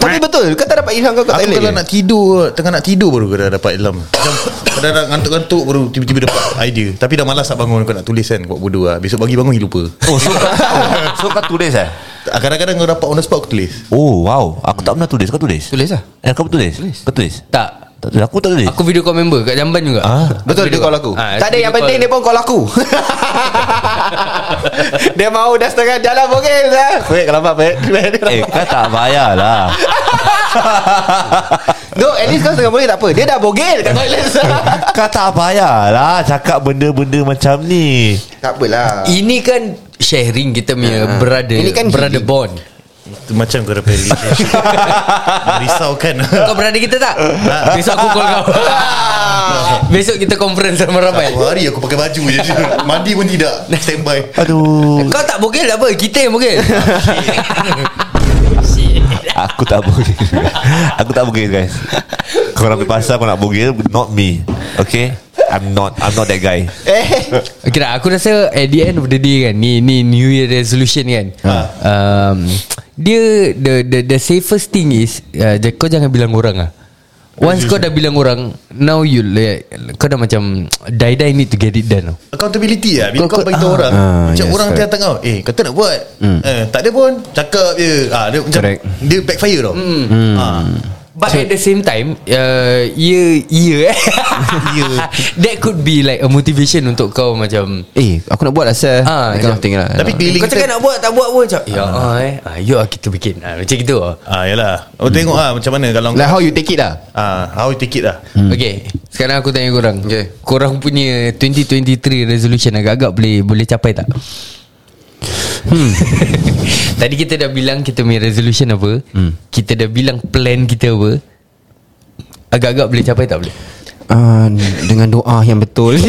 F: Tapi betul, kau tak dapat ilham kau kat
D: Aku
F: toilet.
D: kalau
F: ke?
D: nak tidur Tengah nak tidur baru kau dah dapat ilham Macam Kau dah dah ngantuk-ngantuk Baru tiba-tiba dapat idea Tapi dah malas nak bangun Kau nak tulis kan Buat bodoh lah Besok pagi bangun you lupa
G: Oh so kau So kau tulis eh
D: Kadang-kadang kau dapat on the spot aku tulis
G: Oh wow Aku tak pernah tulis Kau tulis
F: tulis lah.
G: Eh kau tulis Kau tulis
C: Tak
G: Tak ada, Aku tak ada
C: Aku video call member kat Jamban juga.
G: Ah,
F: Betul dia call aku
D: Ah,
F: Tak ada yang penting Dia pun call aku Dia mau dah setengah jalan Mungkin lah Wait kalau apa
G: Eh kau tak payahlah
F: No at least kau setengah boleh tak apa Dia dah bogel kan? kat toilet
G: Kau tak payahlah Cakap benda-benda macam ni
F: Tak apalah
C: Ini kan sharing kita punya brother
F: Ini kan
C: brother
F: healing.
C: bond.
D: Itu macam kau dapat relationship Merisaukan
C: Kau brother kita tak? Besok aku call kau. Besok kita conference sama ramai.
H: Satu hari aku pakai baju je Mandi pun tidak Standby
G: Aduh
C: Kau tak bogel tak apa Kita yang bogel
G: Aku tak boleh Aku tak boleh guys Kau orang pergi pasar Kau nak bogil Not me Okay I'm not I'm not that guy
C: Okay lah aku rasa At the end of the day kan Ni ni new year resolution kan
F: Ha.
C: um, Dia the, the the safest thing is uh, j- Kau jangan bilang orang lah Once kau dah bilang orang Now you like, Kau dah macam Die-die need to get it done tau.
D: Accountability lah Bila
C: Kau-
D: kau,
C: kau-
D: beritahu
C: ah.
D: orang
F: Ah,
D: Macam
F: yes, correct.
D: orang
F: Hmm.
D: tiada tengah Eh kata nak buat eh, Tak ada pun Cakap je ah, Dia macam
F: Correct. Hmm.
D: Dia backfire tau
C: Hmm.
D: Ah.
C: But at the same time uh, Yeah Yeah eh yeah. That could be like A motivation untuk kau macam
F: Eh aku nak buat lah sir
C: Ah,
F: That kind of thing lah
D: Tapi keliling
C: Kau cakap
D: kita
C: nak buat Tak buat pun Macam Ya ah, eh ah, Yuk lah kita bikin ah, Macam gitu lah
D: Ah yalah. Oh tengok ah macam mana kalau
F: Like how you take it lah
D: ah how you take it lah.
C: hmm. Okay Sekarang aku tanya korang
F: Okay.
C: Korang punya 2023 resolution Agak-agak boleh Boleh capai tak? Hmm. Tadi kita dah bilang Kita punya resolution apa hmm. Kita dah bilang plan kita apa Agak-agak boleh capai tak boleh?
F: Ah, Dengan doa yang betul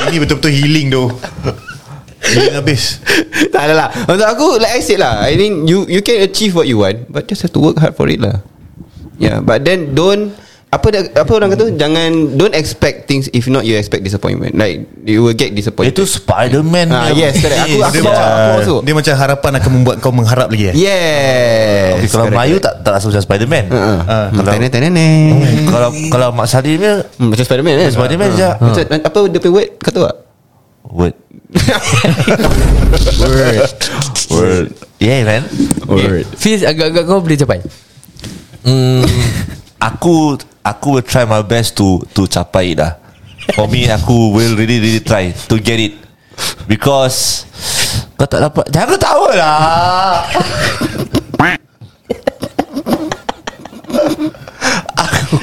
D: Ini betul-betul healing tu. Healing habis.
F: tak ada lah Untuk aku Like I said lah I think you you can achieve what you want But just have to work hard for it lah Yeah But then don't apa dah, apa orang kata jangan don't expect things if not you expect disappointment like you will get disappointed
G: Itu Spiderman Eh,
F: Eh, Ah, yes, correct. Aku- aku
D: Dia
F: bawa-
D: macam
F: aku masuk.
D: dia macam harapan akan membuat kau mengharap lagi eh.
F: yes
G: okay, Kalau
F: Correct,
G: Melayu
F: correct.
G: tak, tak rasa macam Spiderman
F: uh-uh.
G: Ah,
F: Hmm,
G: kalau,
F: tenet, tenet, tenet.
G: kalau kalau Mak Sali ni
F: Hmm, macam Spiderman kan
G: Spiderman je.
F: Macam, apa dia punya word kau tahu tak
G: Word Word Yeah man
F: word
C: Fiz agak-agak kau boleh capai?
G: mm, Aku Aku will try my best to To capai it lah For me Aku will really really try To get it Because Kau tak dapat Jangan ketawa lah Aku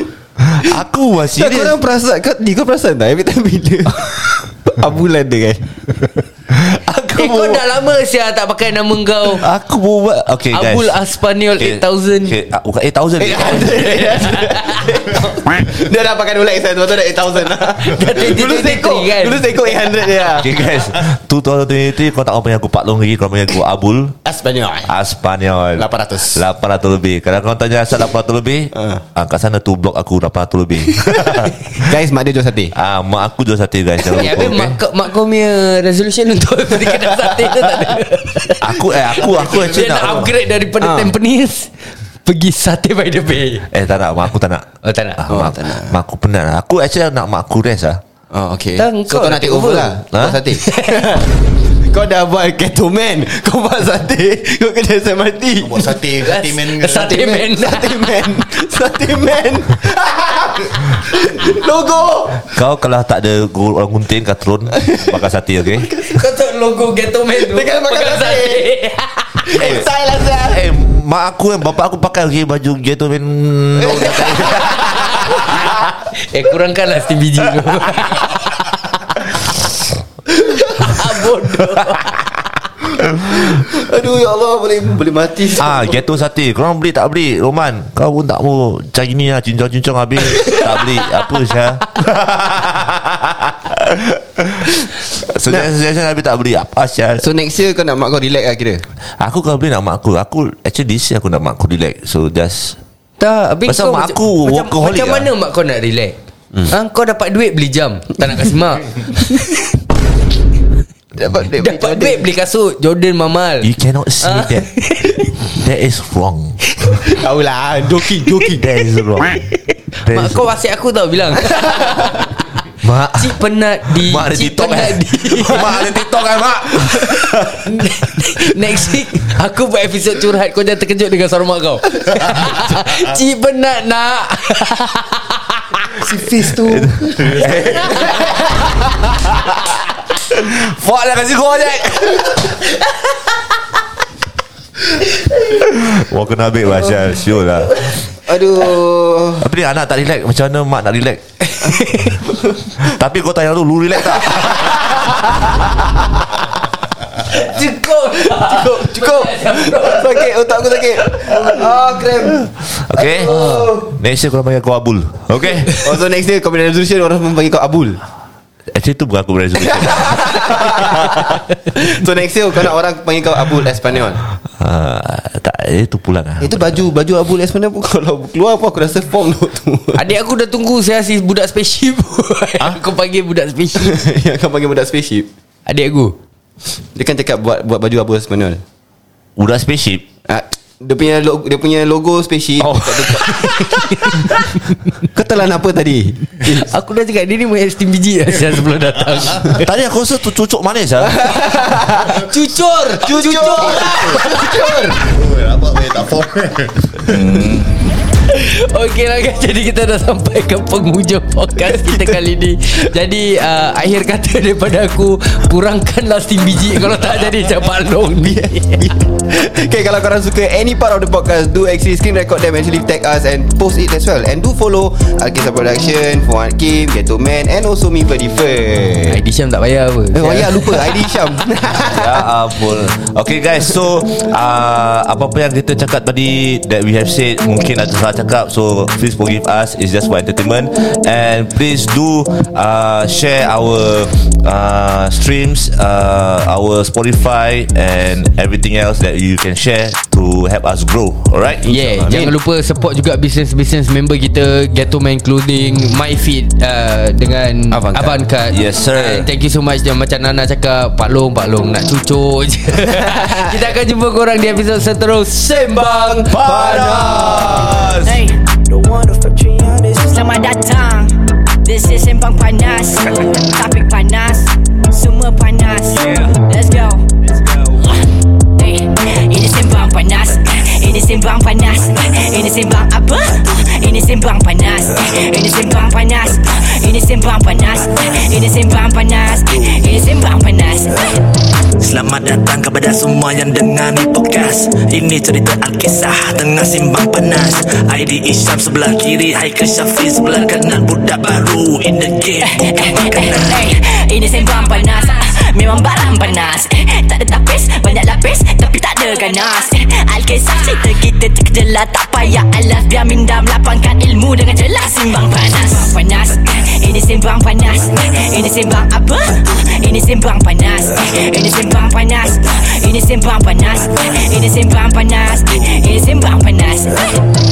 G: Aku was
F: tak
G: serious
F: korang perasan kau, ni, kau perasan tak every time bila ambulan dia kan
G: Aku
C: Eh kau
G: buat-
C: dah lama Sia tak pakai nama kau
G: Aku buat Okay guys
C: Abul Aspaniol
G: okay.
C: 8000.
G: ah, Bukan 8000
F: Dia dah pakai Rolex kan? Sebab tu dah 8,000 lah
C: Dah 2023
F: Dulu seko
C: kan?
F: Dulu seko 800 dia
G: Okay guys 2023 Kau tak orang panggil aku Pak Long lagi Kau panggil aku Abul
F: Espanyol
G: Ah, Aspanyol
F: 800.
G: 800 lebih Kalau kau tanya asal 800 lebih
F: Ah.
G: uh. Kat sana tu blog aku 800 lebih
F: Guys mak dia jual sate
G: Ah, Mak aku jual sate guys Jangan
C: Ya,
G: lupa
C: habis
G: okay?
C: mak, kau- mak kau punya resolution untuk pergi kedai sate tu tak ada.
G: Aku eh aku aku actually
C: Dia nak
G: nak
C: upgrade daripada
F: Ah.
C: Tampines pergi sate by the bay.
G: Eh tak nak Mak aku tak nak
C: Oh tak nak.
G: ah,
F: Oh,
G: mak,
F: tak nak.
G: mak aku penat lah Aku actually nak mak aku rest lah
F: Oh okay
C: Tang,
F: So
C: kau
F: kau
C: dah
F: nak take
C: take
F: over
C: over.
F: lah
G: Ha?
F: Buat sate Kau dah buat Ketoman Kau buat sate Kau kena SMRT
D: Buat sate, sate man ke?
C: Sate man.
F: Sate man Sate man Logo
G: Kau kalau tak ada gu- orang gunting kat tron Makan sate okay
C: Kau tahu logo ghetto man tu.
G: kan
F: Dengan makan
C: Pakai
F: sate.
G: Eh,
F: Saya lah saya
G: eh, mak aku kan Bapak aku pakai okay, Baju gitu men no,
C: eh kurangkanlah setiap biji tu. Ah, Bodoh
F: Aduh ya Allah Boleh boleh mati
G: Ah, ghetto sate. Kau beli tak beli? Roman, kau pun tak mau. Macam gini lah, cincang-cincang habis. tak beli. Apa Syah? Suggestion-suggestion habis tak beli. Apa Syah?
F: So next year kau nak mak kau relax lah kira
G: Aku kalau beli nak mak aku. Aku, actually this year aku nak mak aku relax. So just...
C: Tak habis
G: Pasal
C: kau
G: mak
C: macam-
G: aku
C: macam,
G: workaholic
C: Macam
G: lah.
C: mana mak kau nak relax hmm. ha, Kau dapat duit beli jam Tak nak kasi mak
F: Dapat duit
C: Dapat duit beli kasut Jordan mamal
G: You cannot say
C: Ah.
G: that. that is wrong.
F: Tahu lah
G: Joking, joking. That is wrong. That
C: Mak
G: is
C: kau wasiat aku tau bilang
F: Mak.
C: Cik penat di
F: Mak ada
C: Cik
F: TikTok
C: penat
F: eh
C: di
F: Mak ada TikTok eh mak
C: Next week Aku buat episod curhat Kau jangan terkejut dengan suara mak kau Cik penat nak
F: Fuck lah kasi kau je
G: Wah kena ambil lah Syah Sure lah
F: Aduh
G: Apa ni anak tak relax Macam mana mak nak relax Tapi kau tanya tu Lu relax tak
C: Cukup
F: Cukup Cukup Sakit otak aku sakit Ah krem
G: Okay Next year kau panggil aku Abul Okay
F: Oh so next day Kau punya resolution Orang panggil kau Abul
G: Actually tu bukan aku resolution
F: So next year Kau nak orang panggil kau Abul Espanyol
G: Ah, Tak eh, Itu pulang lah
F: Itu baju Baju Abul Espanyol pun Kalau keluar pun Aku rasa form tu tu.
C: Adik aku dah tunggu Saya si budak spaceship Aku panggil budak spaceship
F: Yang kau panggil budak spaceship
C: Adik aku
F: Dia kan cakap buat buat baju Abul Espanyol
G: Budak spaceship
F: Ah, dia punya logo, dia punya logo spaceship oh. Kau telan apa tadi?
C: Aku dah cakap Dia ni main steam biji lah Saya sebelum datang
G: Tadi aku rasa tu cucuk manis lah
C: Cucur Cucur
H: Rabak boleh tak form
C: Okey lah guys Jadi kita dah sampai ke penghujung podcast kita kali ni Jadi uh, akhir kata daripada aku Kurangkanlah steam biji Kalau tak jadi cabang long
F: okay, kalau korang suka any part of the podcast Do actually screen record them Actually tag us and post it as well And do follow Alkisah Production Fuad Kim Ghetto Man And also me Verdifer
C: ID Syam tak payah apa
F: Eh, oh ya lupa ID Syam
G: Ya ampun Okay guys So uh, Apa-apa yang kita cakap tadi That we have said Mungkin ada salah cakap So please forgive us It's just for entertainment And please do uh, Share our uh, Streams uh, Our Spotify And everything else That you can share To help us grow Alright
C: Yeah, jangan lupa support juga business-business member kita Ghetto Man Clothing, MyFit uh, dengan
F: Avangcard.
C: Avangcard.
G: Yes, sir.
C: Uh, thank you so much dan macam Nana cakap, Pak Long, Pak Long nak cucuk je. Kita akan jumpa korang di episod seterusnya. Sembang
D: Ah,
G: Panas
A: Hey, Selamat datang This is Sembang Panas Topik panas Semua panas Let's go Hey, Ini Sembang Panas Ini Sembang Panas Ini Sembang apa? Ini Sembang Panas Ini Sembang Panas Ini Sembang Panas Ini Sembang Panas Ini Sembang Panas
E: Selamat datang kepada semua yang dengar ni podcast Ini cerita Alkisah tengah simbang panas ID Isyam sebelah kiri Haikal Syafiq sebelah kanan Budak baru in the game Bukan makanan
A: Hey, Eh, Ini sembang panas Ah, Memang barang panas Eh, Tak ada tapis Banyak lapis Tapi tak ada ganas Eh, Alkisah cerita kita terkejelah Tak payah alas Biar minda melapangkan ilmu Dengan jelas Simbang panas Sembang panas Eh, Ini sembang panas Eh, Ini sembang apa? Ah, Ini sembang panas Eh, Ini sembang panas Ah, Ini sembang panas Eh, Ini sembang panas Eh, Ini sembang panas Eh,